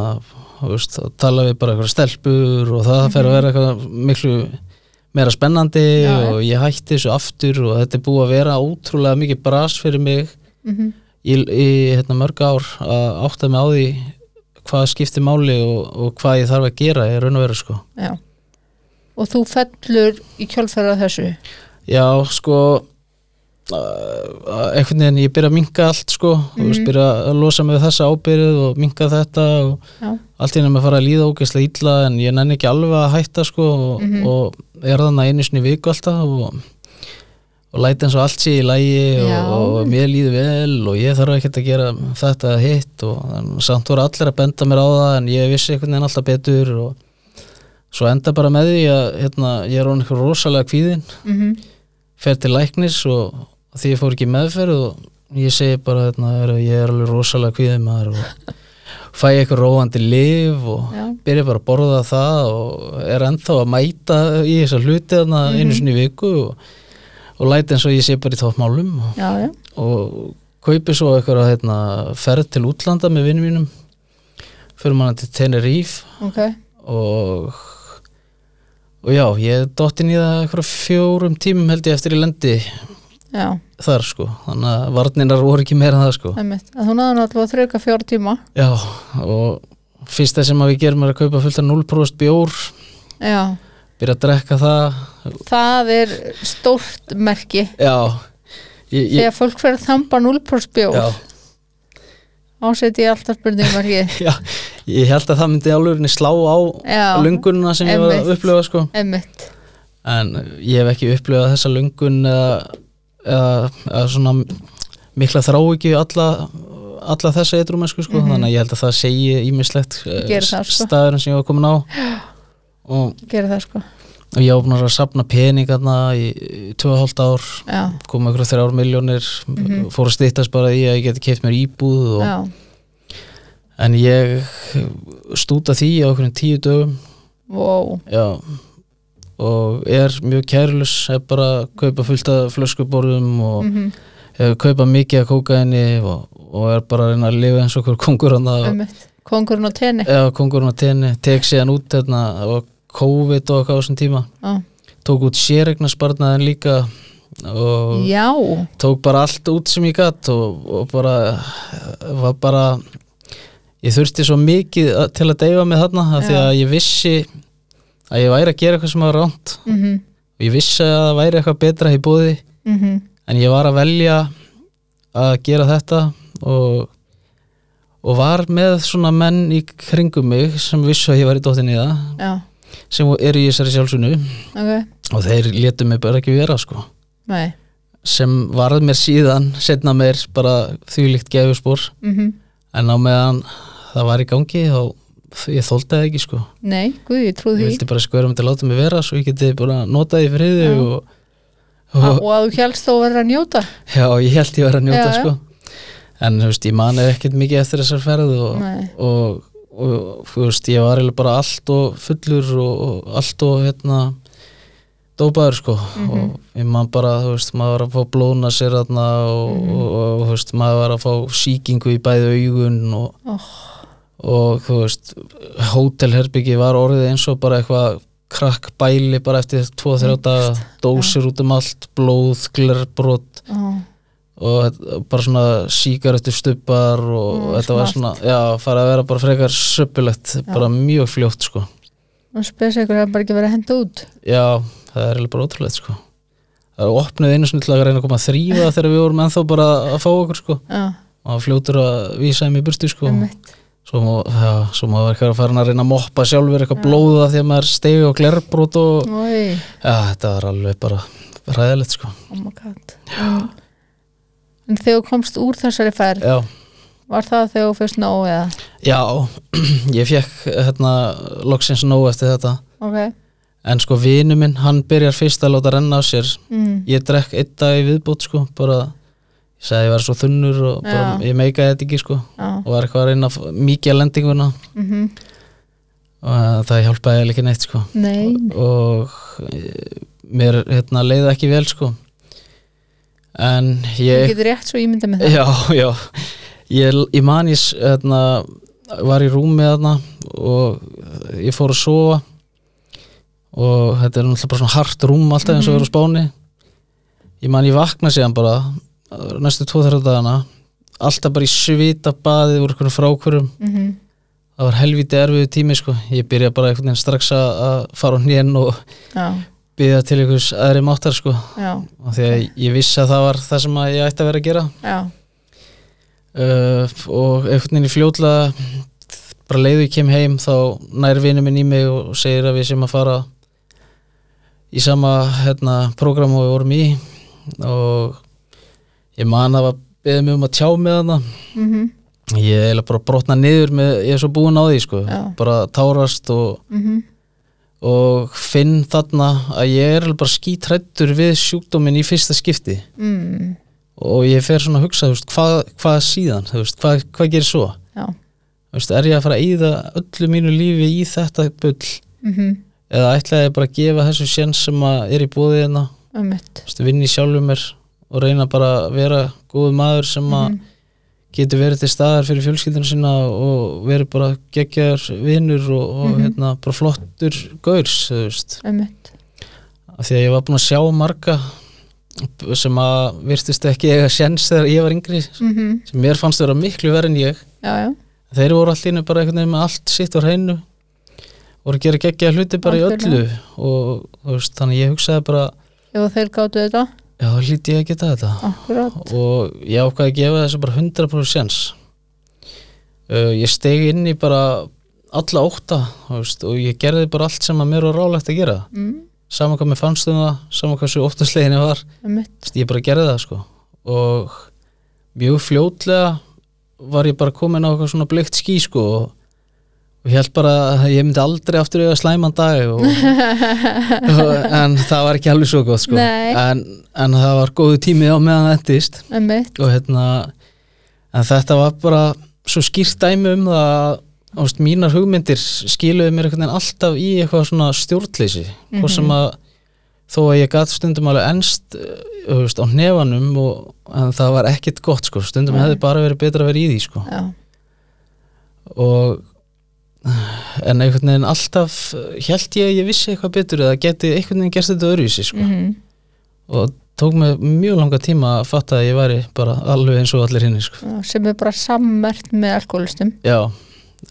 Speaker 2: þú veist, að tala við bara eitthvað stelpur og það fer að vera eitthvað miklu meira spennandi
Speaker 1: Já, já.
Speaker 2: og ég hætti þessu aftur og þetta er búið að vera ótrúlega mikið bras fyrir mig
Speaker 1: Mm
Speaker 2: í, í hérna, mörg ár að átta mig á því hvað skiptir máli og, og hvað ég þarf að gera í raun og veru sko.
Speaker 1: já og þú fellur í kjálfæra þessu
Speaker 2: Já, sko uh, einhvern veginn ég byrja að minka allt sko, mm veist, byrja að losa mig við þessa ábyrð og minka þetta og
Speaker 1: já,
Speaker 2: allt í nefnum að fara að líða ógeðslega illa en ég nenni ekki alveg að hætta sko og, og er þannig einu sinni í viku alltaf og, og læti eins og allt sé í lægi
Speaker 1: Já.
Speaker 2: og, og mér líði vel og ég þarf ekkert að gera þetta eða hitt og en samt voru allir að benda mér á það en ég vissi einhvern veginn alltaf betur og svo enda bara með því að hérna, ég er honum eitthvað rosalega kvíðin
Speaker 1: mm
Speaker 2: fer til læknis og því ég fór ekki í meðferð og ég segi bara hérna, heyrðu, ég er alveg rosalega kvíðin maður og fæ eitthvað róandi liv og
Speaker 1: Já.
Speaker 2: byrja bara að borða það og er ennþá að mæta í þessa hluti þarna einu sinni í viku og, og læti eins og ég sé bara í toppmálum og,
Speaker 1: já, já,
Speaker 2: og kaupi svo eitthvað hérna, ferð til útlanda með vinnum mínum fyrir manna til Tenerife
Speaker 1: ok
Speaker 2: og og já, ég dottin í það eitthvað fjórum tímum held ég eftir í lendi
Speaker 1: já,
Speaker 2: þar sko, þannig að varninar voru ekki meira en það sko
Speaker 1: einmitt, að þú náður náttúrulega að þrauka fjóra tíma
Speaker 2: já, og fyrsta sem að við gerum er að kaupa fullt af 0% bjór
Speaker 1: já,
Speaker 2: byrja að drekka það
Speaker 1: það er stórt merki
Speaker 2: já, ég, ég,
Speaker 1: þegar fólk fyrir að þamba 0% bjór
Speaker 2: já,
Speaker 1: ásett ég alltaf spurningum er ég
Speaker 2: já, ég held að það myndi álurinni slá á
Speaker 1: Já.
Speaker 2: lungununa sem ég var að
Speaker 1: Einmitt.
Speaker 2: upplifa sko
Speaker 1: einmitt,
Speaker 2: en ég hef ekki upplifað þessa lungun eða, eða, eða svona mikla þrá ekki alla, alla þessa eitrumennsku sko, þannig að ég held að það segi ímislegt
Speaker 1: Gerir Mhm. það, sko.
Speaker 2: staðurinn sem ég var komin á og,
Speaker 1: gera það sko
Speaker 2: og ég opnar að sapna peningarna í, í 2,5 ár
Speaker 1: já,
Speaker 2: koma ykkur þrjár miljónir fór að stýttast bara í að ég geti keift mér íbúð og,
Speaker 1: Mhm. já,
Speaker 2: en ég stúta því á okkur tíu dögum
Speaker 1: wow
Speaker 2: Já og er mjög kærlus er bara að kaupa fullt af flöskuborðum og mm
Speaker 1: mhm,
Speaker 2: kaupa mikið af kókaini og, og er bara að reyna að lifa eins og hver kongur hann að
Speaker 1: einmitt, kongurinn og tenni
Speaker 2: eða kongurinn á tenni tek síðan út hérna og COVID og eitthvað á þessum tíma
Speaker 1: já,
Speaker 2: tók út séregnarsparnaðin líka og
Speaker 1: já,
Speaker 2: tók bara allt út sem ég gatt og, og bara var bara ég þurfti svo mikið að- til að deyfa mig þarna af því
Speaker 1: Já.
Speaker 2: að ég vissi að ég væri að gera eitthvað sem var ránt
Speaker 1: mhm,
Speaker 2: og ég vissi að það væri eitthvað betra í búði
Speaker 1: mhm
Speaker 2: en ég var að velja að gera þetta og, og var með svona menn í kringum mig sem vissu að ég var í dóttinni það
Speaker 1: já,
Speaker 2: sem eru í þessari sjálfsunu
Speaker 1: ok,
Speaker 2: og þeir létu mig bara ekki vera sko
Speaker 1: nei
Speaker 2: sem varð mér síðan setna mér bara þvílíkt gefuspor
Speaker 1: mhm,
Speaker 2: en á meðan það var í gangi þá ég þóldi það ekki sko
Speaker 1: nei, guð, ég trú
Speaker 2: ég
Speaker 1: því
Speaker 2: vildi bara skverja mig til að láta mig vera svo ég geti bara notað í friði
Speaker 1: Já.
Speaker 2: og,
Speaker 1: A- og að þú helst þó verður að njóta
Speaker 2: Já, ég held ég var að njóta
Speaker 1: Já, já.
Speaker 2: sko En þú veist, ég mani ekkert mikið eftir þessar ferð og,
Speaker 1: Nei.
Speaker 2: og, og þú veist, ég var eiginlega bara allt og fullur og, og allt og hérna dópaður sko og ég man bara, þú veist, maður var að fá blóna sér þarna og, og, og, þú veist, maður var að fá sýkingu í bæði augun og,
Speaker 1: oh,
Speaker 2: og þú veist, hótelherbyggi var orðið eins og bara eitthvað krakk bæli bara eftir 2-3 daga, dósir út um allt blóð, glerbrot
Speaker 1: oh,
Speaker 2: og þetta- bara svona síkaretu stubbar og
Speaker 1: Mm,
Speaker 2: þetta var
Speaker 1: smart.
Speaker 2: svona, já, farið að vera bara frekar söpulegt, bara mjög fljótt sko.
Speaker 1: og spes ykkur að bara ekki verið að henda út
Speaker 2: Já, það er eiginlega bara ótrúlegt sko. Það er opnuð einu svona til að reyna að koma að þrýfa þegar við vorum ennþá bara að fá okkur sko
Speaker 1: já,
Speaker 2: og hann fljótur að vísa þeim í burtu sko.
Speaker 1: einmitt
Speaker 2: Svo má, já, svo má verður að fara að reyna að moppa sjálfur eitthvað blóða þegar maður stegi og glerbrót og
Speaker 1: oi,
Speaker 2: já, þetta var alveg bara ræðilegt sko.
Speaker 1: oh my god en, en þegar þú komst úr þessari ferð
Speaker 2: Já.
Speaker 1: var það þegar þú fyrst nóg eða
Speaker 2: Já, ég fekk hérna loksins nóg eftir þetta
Speaker 1: ok,
Speaker 2: En sko vinu minn, hann byrjar fyrst að láta renna á sér
Speaker 1: mm,
Speaker 2: Ég drekk einn dag í viðbót sko bara, ég sagði ég var svo þunnur og bara,
Speaker 1: Já.
Speaker 2: ég meikaði þetta ekki sko
Speaker 1: já
Speaker 2: og var eitthvað að reyna að f- mýkja lendinguna
Speaker 1: mm
Speaker 2: og eh, það hjálpaði eiginlega ekki neitt sko
Speaker 1: nei,
Speaker 2: og eh, mér hérna leiði ekki vel sko en
Speaker 1: þú
Speaker 2: ég
Speaker 1: getur rétt svo ímynda með það
Speaker 2: já, já ég, ég man ég s- hérna, var í rúmi þarna og ég fór að sofa og þetta er náttúrulega bara svona hart rúm alltaf eins og verður á spáni ég man ég vakna síðan bara uh, næstu tvo þrjá dagana alltaf bara í svita baði úr einhvern frákvörum
Speaker 1: mhm,
Speaker 2: það var helviti erfiðu tími sko ég byrja bara einhvern veginn strax að að fara á hnén og
Speaker 1: já,
Speaker 2: byrja til einhvers aðri máttar sko
Speaker 1: já,
Speaker 2: og því að ég vissi að það var það sem að ég ætti að vera að gera
Speaker 1: já
Speaker 2: uh, og einhvern veginn í fljótlega bara leiðu ég kem heim þá nær vinur minn í mig og segir að við sem að fara í sama hérna, program og við vorum í og ég man að beða mig um að tjá með hana
Speaker 1: mm -hmm.
Speaker 2: ég er eiginlega bara að brotna niður með, ég er svo búin á því sko
Speaker 1: Já.
Speaker 2: bara tárast og,
Speaker 1: Mhm.
Speaker 2: og finn þarna að ég er eiginlega bara skítrættur við sjúkdóminn í fyrsta skipti
Speaker 1: Mm.
Speaker 2: og ég fer svona að hugsa þú veist, hvað, hvað síðan, þú veist, hvað, hvað gerir svo
Speaker 1: já
Speaker 2: Þú veist, er ég að fara að íða öllu mínu lífi í þetta bull
Speaker 1: mm
Speaker 2: eða ætlaði ég bara að gefa þessu sjens sem að er í búið hérna
Speaker 1: Ömmett
Speaker 2: Þú veist, vinni sjálfur mér og reyna bara að vera góð maður sem að
Speaker 1: Mhm.
Speaker 2: getur verið til staðar fyrir fjölskyldinu sína og verið bara geggjar vinnur og, og
Speaker 1: Mhm.
Speaker 2: hérna, bara flottur gaurs, þú veist
Speaker 1: Ömmett
Speaker 2: af því að ég var búin að sjá marga sem að virtist ekki eiga sjens þegar ég var yngri sem mér fannst vera miklu verð en ég
Speaker 1: Mhm. Já, já
Speaker 2: þeir voru allir innu bara einhvern veginn með allt sitt á hreinu voru að gera geggja hluti bara í öllu
Speaker 1: Algjörlega.
Speaker 2: og þú veist, þannig að ég hugsaði bara
Speaker 1: Ef þeir gáttu þetta
Speaker 2: já, þá hlýt ég að geta þetta
Speaker 1: Akkurát
Speaker 2: og ég ákvaði að gefa þessu bara 100% sjans uh, ég steg inn í bara alla óta þú veist, og ég gerði bara allt sem að mér var rálegt að gera
Speaker 1: mm.
Speaker 2: saman hvað mér fannst um það, saman hvað svo óttasleginni var
Speaker 1: Ömmett
Speaker 2: Þú veist, ég bara gerði það sko og mjög fljótlega var ég bara komin á eitthvað svona bleikt ský sko og, og ég held bara að ég myndi aldrei aftur eiga slæman dag og, og, en það var ekki alveg svo gott sko
Speaker 1: Nei.
Speaker 2: en, en það var góðu tími á meðan það endist
Speaker 1: Ömmett
Speaker 2: og hérna en þetta var bara svo skýrt dæmi um það að ást, mínar hugmyndir skiluðu mér einhvern veginn alltaf í eitthvað svona stjórnleysi mm sem að þó að ég gat stundum alveg enst veist, á nefanum og, en það var ekkit gott sko, stundum hefði bara verið betra að vera í því sko
Speaker 1: Já,
Speaker 2: og en einhvern veginn alltaf held ég að ég vissi eitthvað betur eða geti einhvern veginn gerst þetta öðruvísi sko
Speaker 1: mm.
Speaker 2: og tók mig mjög langa tíma að fatta að ég væri bara alveg eins og allir hinn sko
Speaker 1: Já, sem er bara sammert með alkoholistum
Speaker 2: Já,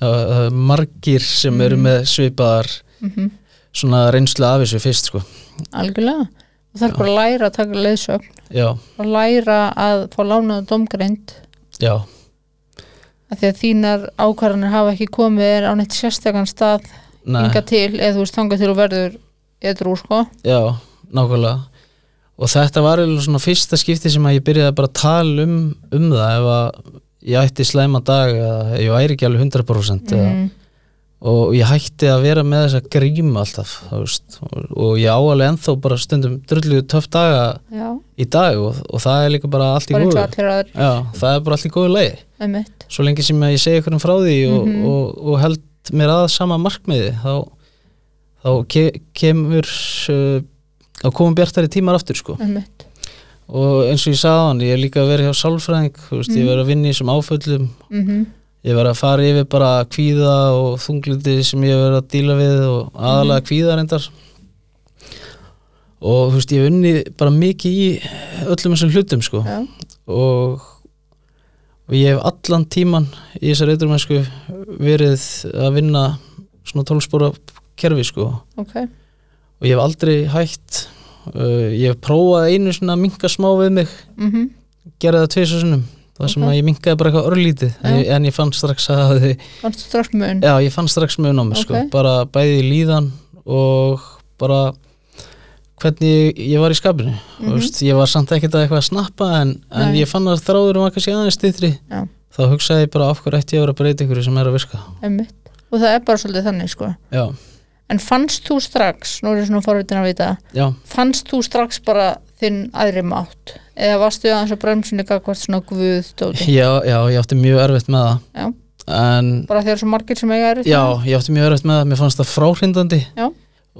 Speaker 2: það það er margir sem eru með svipaðar
Speaker 1: mm
Speaker 2: svona reynslu af þessu fyrst sko.
Speaker 1: Algjörlega Og það er bara að læra að taka leiðsögn
Speaker 2: Já,
Speaker 1: og læra að fá lánaða domgreind
Speaker 2: já,
Speaker 1: af því að þínar ákvarðanir hafa ekki komið þér á neitt sérstakann stað
Speaker 2: nei,
Speaker 1: hinga til eða þú veist þangað til og verður edrú sko
Speaker 2: já, nákvæmlega og þetta var eiginlega svona fyrsta skipti sem að ég byrjaði bara að tala um, um það ef að ég ætti slæma dag eða ég væri ekki alveg 100% eða,
Speaker 1: mm.
Speaker 2: og ég hætti að vera með þessa gríma alltaf þú veist, og, og ég á alveg ennþá bara stundum drullu töff daga
Speaker 1: Já,
Speaker 2: í dag og, og það er líka bara allt í
Speaker 1: bara eins og
Speaker 2: góðu
Speaker 1: allir aðri
Speaker 2: Já, það er bara allt í góðu leið
Speaker 1: Ömmett
Speaker 2: svo lengi sem að ég segi einhverjum frá því og, og, og held mér að sama markmiði þá, þá ke kemur uh, þá komum bjartari tímar aftur sko
Speaker 1: Ömmett
Speaker 2: og eins og ég sagði á hann, ég er líka að vera hjá sálfræðing þú veist, ég verið að vinna í þessum áföllum
Speaker 1: mm
Speaker 2: ég verið að fara yfir bara kvíða og þunglindi sem ég verið að díla við og aðalega kvíða reyndar og þú veist, ég hef unnið bara mikið í öllum þessum hlutum sko
Speaker 1: Já,
Speaker 2: og, og ég hef allan tíman í þessari eiturmennsku verið að vinna svona tólspóra kerfi sko og
Speaker 1: ok
Speaker 2: ég hef aldrei hætt uh, ég hef prófað einu svona að minka smá við mig
Speaker 1: mm
Speaker 2: gera það tveis og sinnum það sem
Speaker 1: Ok.
Speaker 2: að ég minkaði bara eitthvað örlítið en, ég- en ég fann strax að þið,
Speaker 1: Fannstu strax mun
Speaker 2: já ég fann strax mun á mig sko,
Speaker 1: Ok.
Speaker 2: bara bæði í líðan og bara hvernig ég var í skapinu mm veist, ég var samt ekkert að eitthvað að snappa en, en
Speaker 1: Mhm. Nei.
Speaker 2: ég fann að þráður var kannski aðeins styttri
Speaker 1: Já,
Speaker 2: þá hugsaði ég bara af hverju ætti ég að vera að breyta ykkur sem er að virka
Speaker 1: Ömmett Og það er bara svolítið þannig sko
Speaker 2: já,
Speaker 1: En fannst þú strax, nú er ég svona forvitin að vita
Speaker 2: já,
Speaker 1: fannst þú strax bara þinn aðri mátt eða varstu aðeins á bremsunni gagvart svona guð dóti
Speaker 2: já, já, ég átti mjög erfitt með það
Speaker 1: já,
Speaker 2: en
Speaker 1: bara þegar svo margir sem eiga aðri
Speaker 2: já, ég átti mjög erfitt með það mér fannst það fráhrindandi
Speaker 1: já,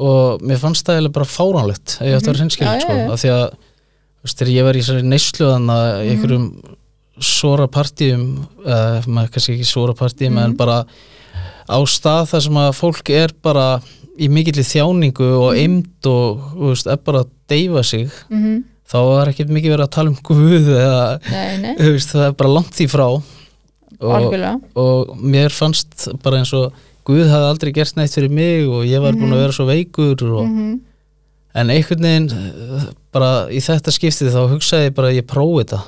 Speaker 2: og mér fannst það eiginlega bara fáránlegt ef ég átti að
Speaker 1: Mhm.
Speaker 2: vera
Speaker 1: Já,
Speaker 2: hinskilin
Speaker 1: já,
Speaker 2: sko,
Speaker 1: já. Mhm.
Speaker 2: af því að þú veist, þegar ég var í þessari neyslu þannig að mm einhverjum sora partíum uh, maður kannski ekki sora partíum
Speaker 1: Mhm.
Speaker 2: en bara á stað þar sem að fólk er bara í mikilli þjáningu
Speaker 1: Mhm.
Speaker 2: og eimd og þú veist, er bara að deyfa sig
Speaker 1: mm
Speaker 2: þá var ekkert mikið verið að tala um Guð eða,
Speaker 1: nei, nei,
Speaker 2: þú veist, það er bara langt því frá og,
Speaker 1: algjörlega
Speaker 2: og mér fannst bara eins og Guð hafði aldrei gert neitt fyrir mig og ég var búin
Speaker 1: Mhm.
Speaker 2: að vera svo veikur og,
Speaker 1: mm -hmm.
Speaker 2: en einhvern veginn eh, bara í þetta skiptið þá hugsaði ég bara að ég prófi þetta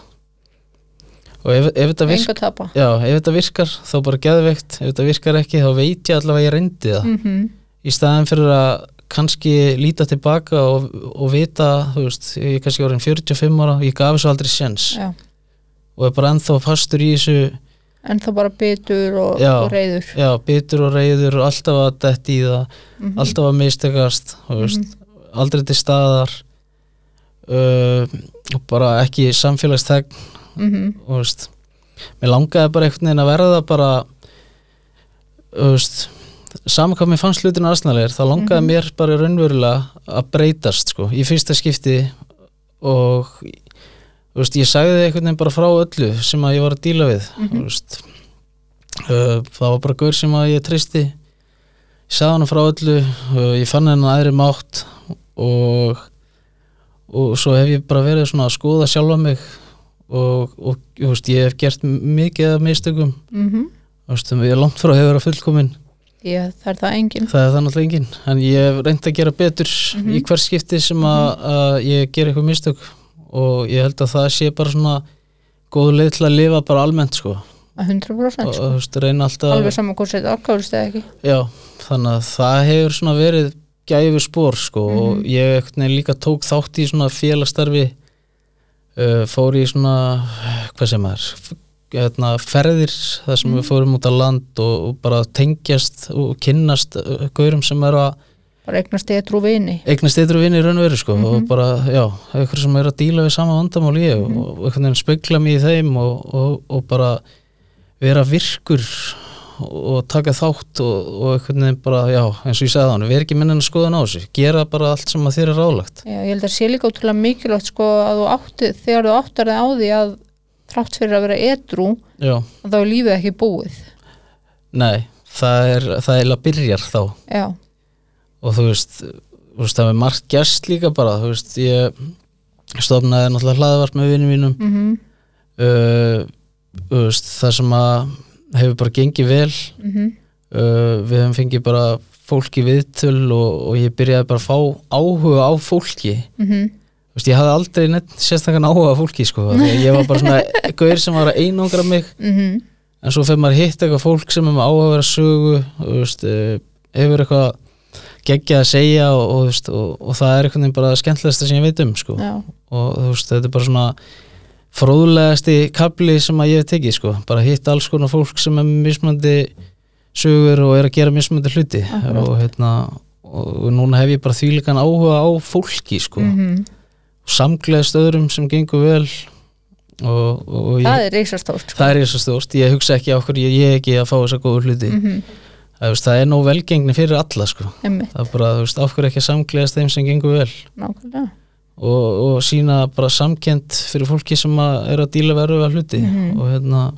Speaker 2: og ef, ef, þetta virk,
Speaker 1: enga tapa
Speaker 2: já, ef þetta virkar þá bara geðveikt, ef þetta virkar ekki þá veit ég allavega að ég reyndi það
Speaker 1: mm -hmm.
Speaker 2: í staðan fyrir að kannski líta tilbaka og, og vita, þú veist, ég er kannski orðin 45 ára, ég gaf þessu aldrei sens
Speaker 1: já.
Speaker 2: og er bara ennþá fastur í þessu
Speaker 1: en þá bara bitur og,
Speaker 2: Já.
Speaker 1: og reyður
Speaker 2: já, bitur og reyður og alltaf að detti í það alltaf að mistekast þú veist, aldrei til staðar uh, og bara ekki samfélagstegn
Speaker 1: mm
Speaker 2: og þú veist, mér langaði bara einhvern veginn að verða bara þú veist, saman hvað mér fannst hlutin aðsnaðlegir, þá langaði
Speaker 1: Mhm.
Speaker 2: mér bara raunverulega að breytast sko, í fyrsta skipti og þú veist, ég sagði einhvern veginn bara frá öllu sem að ég var að díla við mm
Speaker 1: Mhm.
Speaker 2: veist, uh, það var bara gaur sem að ég tristi ég sagði hann frá öllu uh, ég fann hennan aðri mátt og og svo hef ég bara verið svona að skoða sjálfa mig og, og þú veist, ég hef gert m- mikið af mistökum Þú veist, ég er langt frá að hefur að fullkomin
Speaker 1: ég mhm, það er það engin
Speaker 2: það er það náttúrulega engin en ég hef reynd að gera betur
Speaker 1: Mhm.
Speaker 2: í hver skipti sem að, að ég ger eitthvað mistök og ég held að það sé bara svona góð leið til að lifa bara almennt sko,
Speaker 1: að 100%
Speaker 2: og
Speaker 1: sko.
Speaker 2: þú veist, reyna alltaf
Speaker 1: alveg saman hvort þetta afkvæðurst eða ekki
Speaker 2: já, þannig að það hefur svona verið gæfi spór sko og ég einhvern veginn líka tók þátt í svona félastarfi uh, fór í svona hvað sem er hérna, ferðir þar sem við fórum út á land og, og bara tengjast og kynnast uh, gaurum sem eru að
Speaker 1: bara eignast eða trú vini
Speaker 2: eignast eitthvað vinni í raunveru sko og bara, já, eitthvað sem er að díla við sama vandamál ég og einhvern veginn spegla mig í þeim og, og, og bara vera virkur og taka þátt og, og einhvern veginn bara, já, eins og ég sagði hann, vera ekki minna en að skoða ná þessu, gera bara allt sem að þér er rálegt.
Speaker 1: Já, ég held að sé líka útrúlega mikilvægt sko að þú átti, þegar þú áttar þig á því að þrátt fyrir að vera edrú
Speaker 2: Já,
Speaker 1: að þá er lífið ekki búið
Speaker 2: nei, það er, það er að byrjar þá
Speaker 1: já,
Speaker 2: og þú veist, þú veist, það er margt gerst líka bara, þú veist, ég stofnaði náttúrulega hlaðvart með vinnum mínum
Speaker 1: mm -hmm.
Speaker 2: uh, þú veist, það sem að hefur bara gengið vel uh, við hefum fengið bara fólki viðtöl og, og ég byrjaði bara að fá áhuga á fólki Þú veist, ég hafði aldrei neitt sérstakann áhuga á fólki sko, af því að ég var bara svona gaur sem var að einangra mig
Speaker 1: Mhm.
Speaker 2: en svo fyrir maður hitt eitthvað fólk sem er með áhuga að vera sögu þú veist, uh, hefur eitthvað geggjað að segja og, og, þú veist, og, og það er eitthvað bara skemmtilegasta sem ég veit um sko
Speaker 1: já,
Speaker 2: og þú veist, þetta er bara svona fróðlegasti kapli sem að ég hef tekið sko, bara hitt alls konar fólk sem er með mismandi sögur og er að gera mismandi hluti
Speaker 1: Akkúrat.
Speaker 2: og hérna og núna hef ég bara þvílegan áhuga á fólki sko,
Speaker 1: mm
Speaker 2: mm. samgleðst öðrum sem gengur vel og, og ég,
Speaker 1: það er reisastórt sko.
Speaker 2: það er ég svo stórt ég hugsa ekki á hverju ég er ekki að fá þessa góðu hluti
Speaker 1: mm -hmm.
Speaker 2: það, þú veist, það er nóg velgengni fyrir alla sko,
Speaker 1: Einmitt,
Speaker 2: það er bara, þú veist, af hverju ekki að samgleðast þeim sem gengur vel
Speaker 1: nákvæmlega
Speaker 2: og, og sína bara samkend fyrir fólki sem að er að díla verðu að hluti
Speaker 1: Mhm.
Speaker 2: og hérna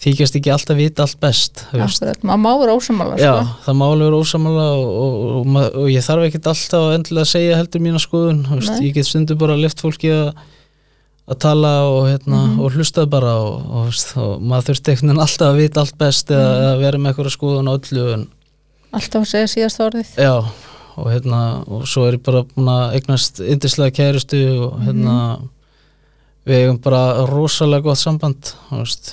Speaker 2: þykjast ekki alltaf vita allt best þú veist.
Speaker 1: Akkurat, maður má vera ósamála
Speaker 2: Já,
Speaker 1: sko.
Speaker 2: það máli vera ósamála og, og, og, ma- og ég þarf ekkert alltaf að endilega segja heldur mína skoðun þú veist.
Speaker 1: Nei.
Speaker 2: ég get stundu bara lift fólki að að tala og, hérna,
Speaker 1: Mhm.
Speaker 2: og hlusta bara og, og, þú veist, og maður þurfti einhvern veginn alltaf að vita allt best eða,
Speaker 1: Mhm.
Speaker 2: eða vera með eitthvað skoðun á öllu en,
Speaker 1: alltaf að segja síðast orðið
Speaker 2: Já, og hérna og svo er ég bara búin að eignast yndislega kærustu
Speaker 1: Mhm.
Speaker 2: og hérna við eigum bara rosalega gott samband þú veist,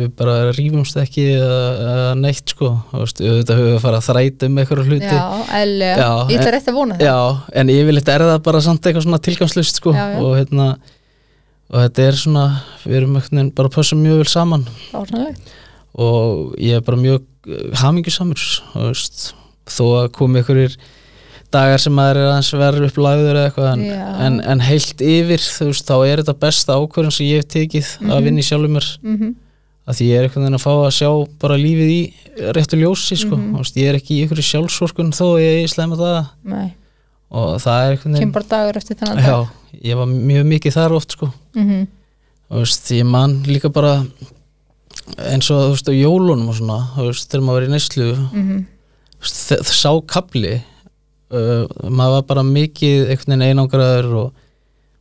Speaker 2: við bara rýfumst ekki eða, eða neitt sko þú veist, auðvitað höfum við að fara að þræta um einhverja hluti
Speaker 1: já, eðlilega,
Speaker 2: Já,
Speaker 1: ég ætla
Speaker 2: en-
Speaker 1: rétt að vona það
Speaker 2: Já, en yfirleitt er það bara samt eitthvað svona tilgangslust sko
Speaker 1: Já, já.
Speaker 2: og hérna og þetta er svona, við erum einhvern veginn bara að passa mjög vel saman
Speaker 1: árnalegt
Speaker 2: og ég er bara mjög hamingisamur veist, þó að komi einhverjir dagar sem maður er aðeins verður upp lagður eða eitthvað en,
Speaker 1: Já.
Speaker 2: en, en heilt yfir þú veist, þá er þetta besta ákvörðin sem ég hef tekið að vinna í sjálfum mér
Speaker 1: mm -hmm.
Speaker 2: að því ég er einhvern veginn að fá að sjá bara lífið í réttu ljósi sko.
Speaker 1: Mhm.
Speaker 2: mm veist, ég er ekki í einhverju sjálfsvorkun þó að ég er í slemma það og það er einhvern
Speaker 1: kemur
Speaker 2: veginn
Speaker 1: bara dagur eftir þennan dag
Speaker 2: já, ég var mjög mikið þar oft sko.
Speaker 1: mm -hmm.
Speaker 2: Þú veist, ég man líka bara eins og þú veist á jólunum og svona, þú veist, þegar maður var í neyslu
Speaker 1: Mm -hmm.
Speaker 2: þú veist, þe- þ- sá kapli uh, maður var bara mikið einhvern veginn einangraður og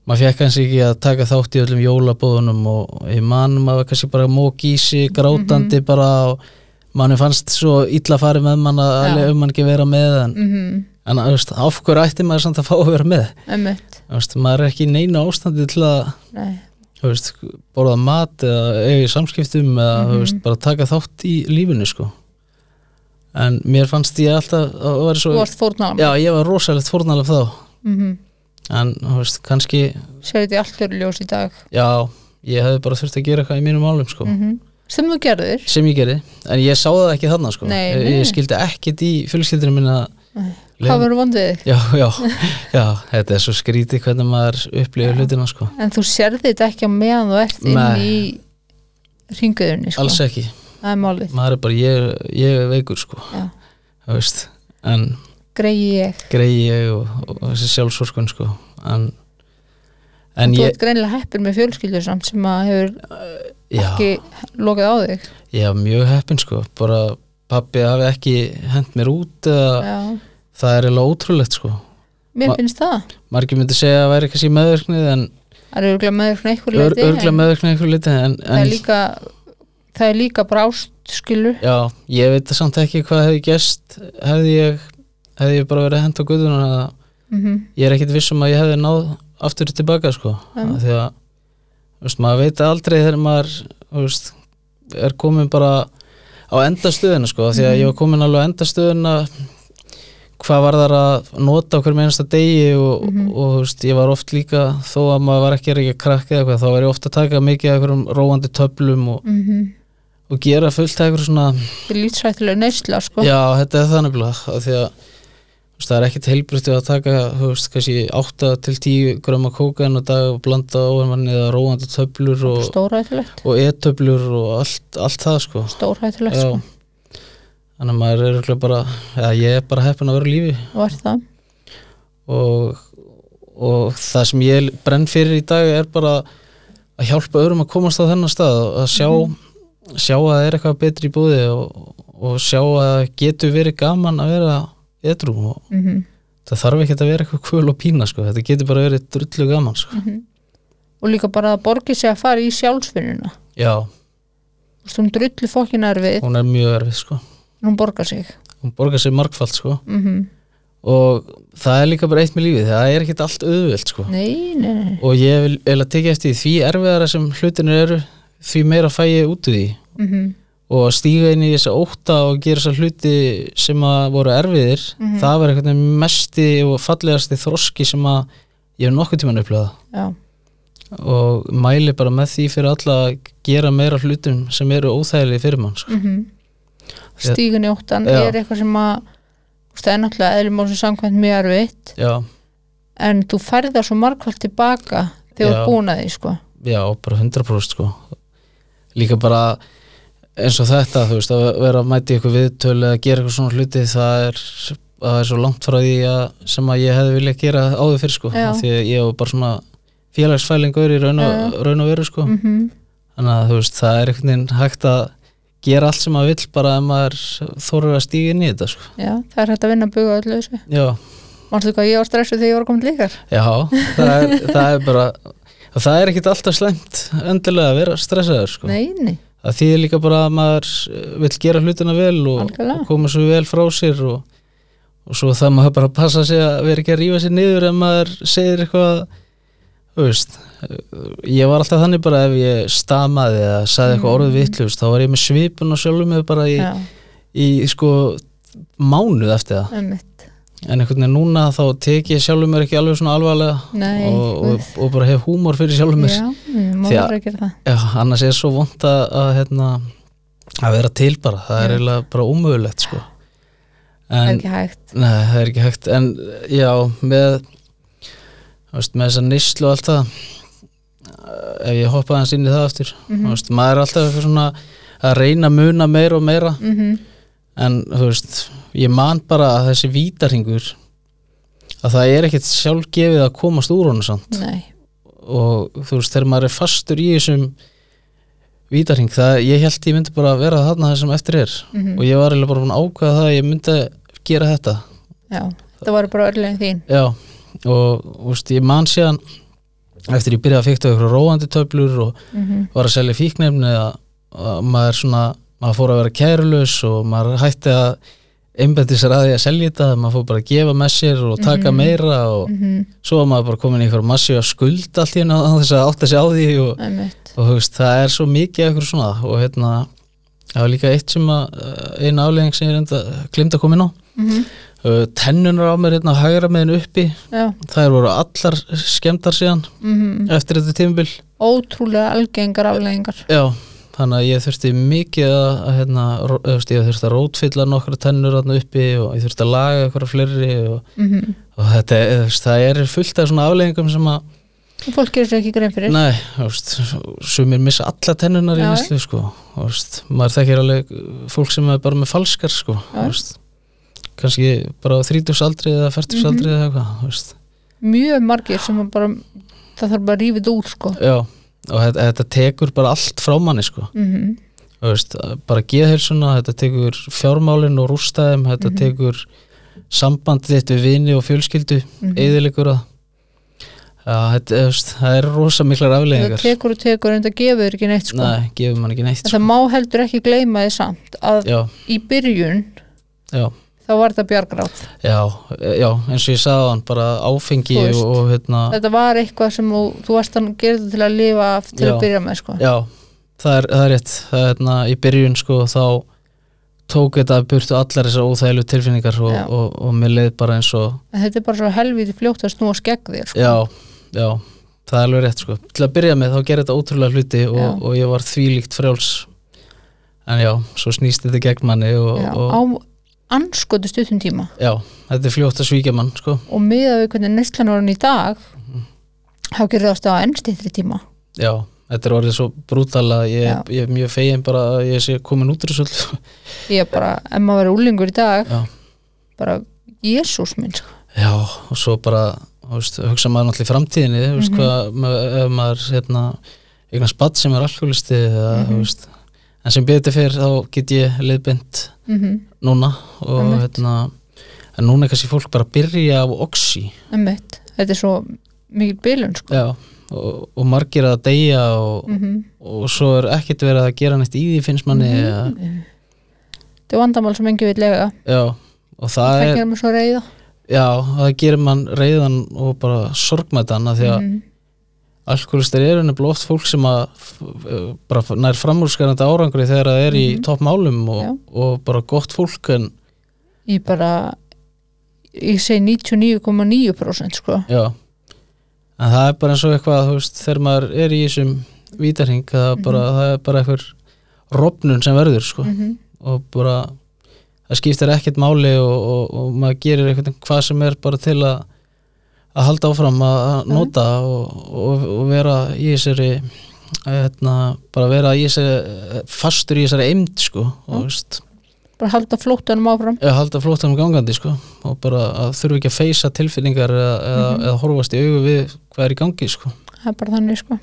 Speaker 2: maður fekk kannski ekki að taka þátt í öllum jólabóðunum og ég man maður var kannski bara mók í sig, grátandi
Speaker 1: Mhm.
Speaker 2: bara og manni fannst svo illa farið með mann að
Speaker 1: Já.
Speaker 2: ja. um mann ekki vera með en,
Speaker 1: Mm
Speaker 2: en þú veist, af hverju ætti maður samt að fá að vera með Þú veist, maður er ekki í neina ástandi til að
Speaker 1: Nei.
Speaker 2: þú veist, borða
Speaker 1: Mhm.
Speaker 2: mat eða eiga í samskiptum eða mm veist, bara taka þátt í lífinu sko. en mér fannst ég alltaf að vera
Speaker 1: þú
Speaker 2: svo
Speaker 1: varst fórnalam
Speaker 2: já, ég var rosalegt fórnalef þá en, þú veist, kannski
Speaker 1: segir þetta í allt fyrir ljós í dag
Speaker 2: já, ég hefði bara þurft að gera eitthvað í mínum álum, sko,
Speaker 1: Mm. Mhm. sem þú gerðir
Speaker 2: sem ég gerði en ég sá það ekki þarna, sko
Speaker 1: Nei,
Speaker 2: ég,
Speaker 1: nei.
Speaker 2: ég skildi ekkit í fjölskyldinu minna
Speaker 1: Nei.
Speaker 2: Leifum-
Speaker 1: hvað verður vondið þig?
Speaker 2: já, já, já, þetta er svo skrítið hvernig maður upplifir hlutina, sko
Speaker 1: en þú sérði þetta ekki á meðan þú ert inn
Speaker 2: Nei.
Speaker 1: í ringuðunni sko.
Speaker 2: alls ekki,
Speaker 1: það er málið
Speaker 2: maður er bara ég, ég er veikur, sko
Speaker 1: Já.
Speaker 2: þú veist, en
Speaker 1: greiði ég,
Speaker 2: greiði ég og, og, og þessi sjálfsvorkun, sko en, en
Speaker 1: þú
Speaker 2: ég
Speaker 1: ert greinilega heppir með fjölskyldur samt sem að hefur
Speaker 2: já,
Speaker 1: ekki lokað á þig
Speaker 2: ég var mjög heppin, sko bara pappi hafi ekki hent mér út eða,
Speaker 1: já.
Speaker 2: það er eiginlega ótrúlegt, sko
Speaker 1: mér
Speaker 2: Ma-
Speaker 1: finnst það
Speaker 2: margir myndi segja að það væri kannski meðverknið en
Speaker 1: það er örgulega meður svona einhver
Speaker 2: ör,
Speaker 1: leiti
Speaker 2: örgla meðverknið einhver liti en,
Speaker 1: það er
Speaker 2: en
Speaker 1: líka það er líka brást skilur
Speaker 2: já, ég veit samt ekki hvað hefði gerst hefði ég, hefði ég bara verið að henda á guðuna eða
Speaker 1: mm
Speaker 2: ég er ekkit viss um að ég hefði náð aftur tilbaka sko
Speaker 1: Mm.
Speaker 2: mm. því að þú veist, maður veit aldrei þegar maður þú veist, er komin bara á endastöðuna sko því að ég var komin alveg á endastöðuna hvað var þar að nota okkur með einasta degi og, og, þú veist, ég var oft líka þó að maður var ekki að reykja krakka eða eitthvað þá var ég oft að taka mikið af einhverjum róandi töflum og,
Speaker 1: mm -hmm.
Speaker 2: og gera fullt af einhverjum svona
Speaker 1: það er lítsrættilega neysla sko.
Speaker 2: Já, þetta er þannig að því að þú veist, það er ekkit heilbrútið að taka þú veist, kannski 8 til 10 gröma kókain og dag og blanda óhæmanni eða róandi töflur og,
Speaker 1: stórhættilegt
Speaker 2: og e-töflur og allt, allt það sko.
Speaker 1: stórhættilegt
Speaker 2: Já.
Speaker 1: sko.
Speaker 2: Þannig að maður er örugglega bara, já, ég er bara heppin að vera á lífi
Speaker 1: var það
Speaker 2: og, og það sem ég brenn fyrir í dag er bara að hjálpa öðrum að komast á þennan stað og að sjá, sjá að það er eitthvað betri í búði og, og sjá að það getur verið gaman að vera edrú og
Speaker 1: mm
Speaker 2: það þarf ekki að vera eitthvað kvöl og pína sko. þetta getur bara verið drullu gaman sko.
Speaker 1: og líka bara að borgi sig að fara í sjálfsvinnuna
Speaker 2: já,
Speaker 1: Þú veist, hún drullu fokkin erfið
Speaker 2: hún er mjög erfið sko.
Speaker 1: en hún borgar sig
Speaker 2: hún borgar sér margfald sko.
Speaker 1: mm
Speaker 2: og það er líka bara eitt með lífið það er ekkit allt auðvöld sko.
Speaker 1: nei, nei, nei.
Speaker 2: og ég vil eða tekið eftir því, því erfiðara sem hlutinir eru því meira fæ ég út úr því
Speaker 1: Mm -hmm.
Speaker 2: og að stíga inn í þessa óta og gera þessa hluti sem að voru erfiðir það var eitthvað mesti og fallegasti þroski sem að ég hef nokkuð tíman upplöða
Speaker 1: já,
Speaker 2: og mæli bara með því fyrir alla að gera meira hlutum sem eru óþægilegi fyrir mann sko.
Speaker 1: mm stígun í óttan
Speaker 2: Já.
Speaker 1: er eitthvað sem að þú veist, það er náttúrulega eðlumálsum samkvæmt mjög erfitt
Speaker 2: já,
Speaker 1: en þú færð það svo margkvæmt tilbaka þegar þú
Speaker 2: Já.
Speaker 1: er búin að því sko.
Speaker 2: já, bara 100% sko. líka bara eins og þetta, þú veist, að vera að mæti eitthvað viðtöl eða gera eitthvað svona hluti það er, það er svo langt frá því að, sem að ég hefði viljað gera áður fyrir sko.
Speaker 1: Já.
Speaker 2: Af því að ég var bara svona félagsfælingur í raun og, raun og veru sko.
Speaker 1: mm
Speaker 2: þannig að þú veist, það er einhvern veginn hægt að gera allt sem maður vill bara ef maður þórar að stíga inn í þetta sko.
Speaker 1: já, það er hægt að vinna að buga öllu þessu
Speaker 2: já
Speaker 1: mannstu hvað ég var stressuð þegar ég var komin líkar
Speaker 2: Já, það er, það er bara og það er ekkit alltaf slæmt endilega að vera stressaður sko.
Speaker 1: nei, nei,
Speaker 2: það þýðir líka bara að maður eh, vill gera hlutina vel og,
Speaker 1: Algjörlega.
Speaker 2: og koma svo vel frá sér og, og svo það maður bara að passa sig að vera ekki að rífa sér niður ef maður segir eitthvað þú veist, eh, ég var alltaf þannig bara ef ég stamaði eða sagði eitthvað orðið vittlust þá var ég með svipun og sjálfum mig bara í,
Speaker 1: Mm. já,
Speaker 2: í sko mánuð eftir það
Speaker 1: emmitt
Speaker 2: en einhvern veginn núna þá tek ég sjálfur mér ekki alveg svona alvarlega
Speaker 1: Nei,
Speaker 2: og, og, og bara hef húmor fyrir sjálfur mér
Speaker 1: já, mm, má
Speaker 2: Því að-
Speaker 1: vera að gera það
Speaker 2: Já, annars er svo vond að, að, hérna, að vera til bara það er
Speaker 1: Já.
Speaker 2: eiginlega bara ómögulegt sko.
Speaker 1: það er
Speaker 2: en
Speaker 1: ekki hægt
Speaker 2: nei, það er ekki hægt en já, með þú veist, með þessa nýslu og allt það eh, ef ég hoppa aðeins inn í það aftur mm veist, maður er alltaf eitthvað svona að reyna að muna meira og meira
Speaker 1: mm
Speaker 2: en þú veist, ég man bara að þessi vítarhingur að það er ekkert sjálfgefið að komast úr honum samt
Speaker 1: nei,
Speaker 2: og þú veist, þegar maður er fastur í þessum vítarhing, það, ég held ég myndi bara vera þarna það sem eftir er
Speaker 1: Mhm.
Speaker 2: og ég var eiginlega bara búin að ákvaða það að ég myndi gera þetta,
Speaker 1: já, það var bara örlegin þín
Speaker 2: já og þú veist, ég man síðan eftir ég byrjaði að fykta ykkur róandi töflur og
Speaker 1: mm
Speaker 2: var að selja fíknefni að, að maður svona maður fór að vera kærulaus og maður hætti að einbætti sér að því að selja þetta maður fór bara að gefa með sér og taka meira og
Speaker 1: Mhm.
Speaker 2: svo var maður bara komin í einhver massi að skuld allt í hérna á þess að átta sig á því og,
Speaker 1: emmitt
Speaker 2: og þú veist, það er svo mikið eitthvað svona og hérna það var líka eitt sem að eina aflegging sem ég reynda glimt að koma inn á
Speaker 1: mm
Speaker 2: uh, tennunar á mér hérna hægra meðin uppi
Speaker 1: já,
Speaker 2: þær voru allar skemmtar síðan
Speaker 1: mm
Speaker 2: eftir þetta tímabil
Speaker 1: ótrúlega algengar afleðingar
Speaker 2: já, þannig að ég þurfti mikið að, að hérna, ró- þú veist, ég þurfti að rótfylla nokkra tennur hérna uppi og ég þurfti að laga eitthvað fleiri og,
Speaker 1: mm
Speaker 2: og þetta, er- þú veist, það er fullt af svona afleggingum sem að
Speaker 1: og fólk gerir sér ekki grein fyrir
Speaker 2: Nei, þú veist, sumir missa alla tennunar
Speaker 1: Já,
Speaker 2: í
Speaker 1: já.
Speaker 2: neslu, sko þú veist, maður þekkir alveg uh, fólk sem er bara með falskar, sko þú
Speaker 1: Já.
Speaker 2: veist, kannski bara á þrítugsaldri eða færtugsaldri
Speaker 1: Mhm.
Speaker 2: eða eitthvað, þú veist
Speaker 1: mjög margir sem að bara það þarf bara að rífið úr sko
Speaker 2: já, og þetta, þetta tekur bara allt frá manni, sko
Speaker 1: mm -hmm.
Speaker 2: þú veist, bara geðhelsuna, þetta tekur fjármálin og rústæðum, þetta
Speaker 1: Mhm.
Speaker 2: tekur sambandið þitt við vini og fjölskyldu,
Speaker 1: Mhm.
Speaker 2: mm -hmm. það Já, þetta, þú veist, það er rosa miklar
Speaker 1: það
Speaker 2: afleggingar
Speaker 1: tekur og tekur en það gefur þér ekki neitt sko
Speaker 2: Nei, gefur mann ekki neitt
Speaker 1: en
Speaker 2: sko.
Speaker 1: það má heldur ekki gleyma því samt að
Speaker 2: Já,
Speaker 1: í byrjun
Speaker 2: já
Speaker 1: þá var þetta bjargráð
Speaker 2: Já, e- já, eins og ég sagði á hann bara áfengi
Speaker 1: Þú veist.
Speaker 2: og, og hérna
Speaker 1: þetta var eitthvað sem þú, þú varst að gera þetta til að lifa af til
Speaker 2: Já.
Speaker 1: að byrja með sko
Speaker 2: Já, það er, það er rétt það er hérna í byrjun sko þá tók þetta burtu allar þessar óþægilegu tilfinningar og,
Speaker 1: Já.
Speaker 2: og, og, mér leið bara eins og
Speaker 1: en þetta er bara svo helviti fljótt að snúa skegg þér sko.
Speaker 2: Já, já, það er alveg rétt sko Til að byrja með þá gerði þetta ótrúlega hluti og,
Speaker 1: Já.
Speaker 2: og ég var þvílíkt frjáls En já, svo snýst þetta gegn manni og,
Speaker 1: Já,
Speaker 2: og
Speaker 1: á anskotu stuttum tíma
Speaker 2: já, þetta er fljótt að svíkja mann sko
Speaker 1: og miða við hvernig neyslan var hann í dag
Speaker 2: Mhm.
Speaker 1: þá gerir það stáð á ennstýttri tíma
Speaker 2: Já, þetta er orðið svo brútal að
Speaker 1: Já.
Speaker 2: ég, ég er mjög fegin bara að ég sé komin út úr þessu öllu.
Speaker 1: ég er bara, ef maður verið úlingur í dag
Speaker 2: Já.
Speaker 1: bara, jésús minn sko.
Speaker 2: Já, og svo bara þú veist, hugsa maður náttúrulega í framtíðinni þú
Speaker 1: Mhm.
Speaker 2: veist, hvað, ma- ef maður hérna, eignar spatt sem er alkoholisti eða,
Speaker 1: Mhm.
Speaker 2: þú veist, en sem betur fyrir þá get ég leiðbind
Speaker 1: mm -hmm.
Speaker 2: núna og
Speaker 1: Einmitt.
Speaker 2: hérna en núna er kannski fólk bara að byrja á oxi
Speaker 1: þetta er svo mikil bylun sko.
Speaker 2: Já, og, og margir að deyja og,
Speaker 1: mm
Speaker 2: og svo er ekkert verið að gera neitt í því finnst manni
Speaker 1: Mhm.
Speaker 2: eða,
Speaker 1: þetta er vandamál sem engi vil lega
Speaker 2: Já, og það
Speaker 1: það
Speaker 2: er
Speaker 1: gerir mér svo reyða
Speaker 2: Já, það gerir mann reyðan og bara sorgmætan af því að
Speaker 1: Mhm.
Speaker 2: alkoholistar eru nefnilega oft fólk sem að f- f- bara f- nær framúrskarandi árangri þegar það er í toppmálum
Speaker 1: Já.
Speaker 2: og, og bara gott fólk en
Speaker 1: ég bara ég segi 99,9% sko.
Speaker 2: já en það er bara eins og eitthvað þú veist, þegar maður er í þessum vítarhing það, mm bara, það er bara eitthvað rofnun sem verður sko
Speaker 1: Mhm.
Speaker 2: og bara það skiptir ekkert máli og, og, og maður gerir eitthvað hvað sem er bara til að að halda áfram að að nota og, og, og vera í þessari hérna, bara vera í þessari fastur í þessari eimd sko og veist,
Speaker 1: bara halda flóttanum áfram
Speaker 2: eða halda flóttanum gangandi sko og bara að þurfa ekki að feysa tilfinningar eða, eða, eða horfast í augu við hvað er í gangi sko
Speaker 1: það er bara þannig sko.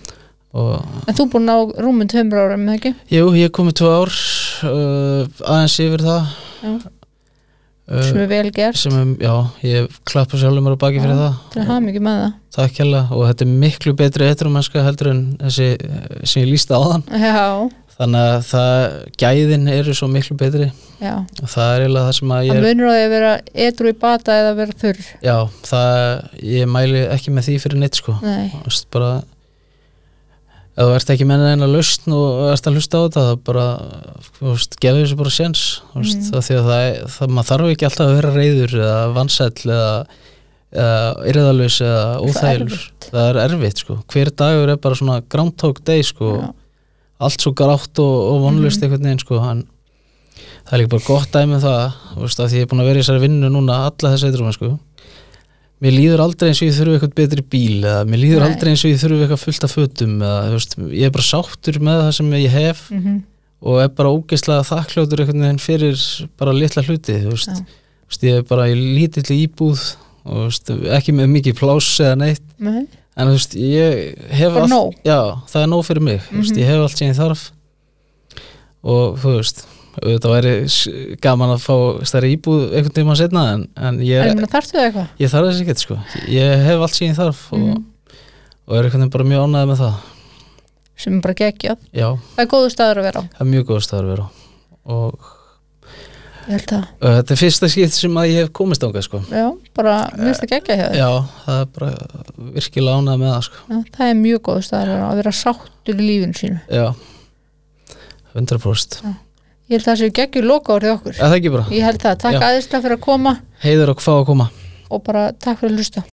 Speaker 2: og
Speaker 1: en þú er búin á rúmum tveimur árum eða ekki?
Speaker 2: jú, ég er komið tvö ár uh, aðeins yfir það
Speaker 1: Já.
Speaker 2: uh,
Speaker 1: sem er vel gert
Speaker 2: sem er, já, ég klappa sjálfur mér á baki fyrir það
Speaker 1: til að hafa mikið með það
Speaker 2: Takk hella og þetta er miklu betri heteromennska heldur en þessi eh, sem ég lísta áðan
Speaker 1: Já,
Speaker 2: þannig að það, gæðin eru svo miklu betri
Speaker 1: já.
Speaker 2: og það er eiginlega það sem að
Speaker 1: Það
Speaker 2: ég er,
Speaker 1: munur á því að vera edru í bata eða vera þurr.
Speaker 2: já, það, ég mæli ekki með því fyrir neitt sko,
Speaker 1: Nei,
Speaker 2: þú veist bara ef þú ert ekki með neina lausn og ert að hlusta á þetta það bara, þú veist, gefur þessu bara séns, þú veist, mm. því að það, er- það maður þarf ekki alltaf að vera reyður eða vansæll eða, eða yrðalus eða óþægilur
Speaker 1: erfitt.
Speaker 2: það er erfitt sko, hver dagur er bara svona groundhog day sko
Speaker 1: Já.
Speaker 2: allt svo grátt og, og
Speaker 1: Mhm.
Speaker 2: vonlust einhvern veginn sko, hann það er líka bara gott dæmi um það, þú veist, af því ég er búin að vera í þessari vinnu núna alla þessi eitthvað sko mér líður aldrei eins og ég þurfi eitthvað betri bíl eða mér líður
Speaker 1: Nei.
Speaker 2: aldrei eins og ég þurfi eitthvað fullt af fötum eða, þú veist, ég er bara sáttur með það sem ég hef
Speaker 1: mm
Speaker 2: og er bara ógeðslega þakkljótur einhvern veginn fyrir bara litla hluti þú veist,
Speaker 1: Já.
Speaker 2: þú veist, ég er bara í lítilli íbúð og þú veist, ekki með mikið pláss eða neitt
Speaker 1: Nei.
Speaker 2: en þú veist, ég hef
Speaker 1: Bara
Speaker 2: allt-
Speaker 1: nóg.
Speaker 2: já, það er nóg fyrir mig mm veist, ég hef allt sem ég þarf og þú veist auðvitað væri s- gaman að fá stærri íbúð einhvern tíma setna en, en ég,
Speaker 1: en það þarftu það eitthvað?
Speaker 2: ég þarf þess ekkert sko ég hef allt sem ég þarf og,
Speaker 1: Mhm.
Speaker 2: og er einhvern veginn bara mjög ánægð með það
Speaker 1: Sem er bara geggjað.
Speaker 2: já,
Speaker 1: Það er góðu staður að vera á.
Speaker 2: það er mjög góð staður að vera á. og
Speaker 1: Ég held að,
Speaker 2: uh, þetta er fyrsta skipt sem að ég hef komist ánga sko
Speaker 1: já, bara mérst að gegja hjá þér.
Speaker 2: já, það er bara virkilega ánægð með það sko
Speaker 1: Já, Það er mjög góðu staður að vera á, að vera sáttur í lífinu sínu.
Speaker 2: já, 100%
Speaker 1: ég held að það séu geggjur loka orðið okkur
Speaker 2: Er það ekki bara?
Speaker 1: ég held það, takk
Speaker 2: Já.
Speaker 1: aðeinslega fyrir að koma
Speaker 2: Heiður og hvað að koma
Speaker 1: og bara takk fyrir að hlusta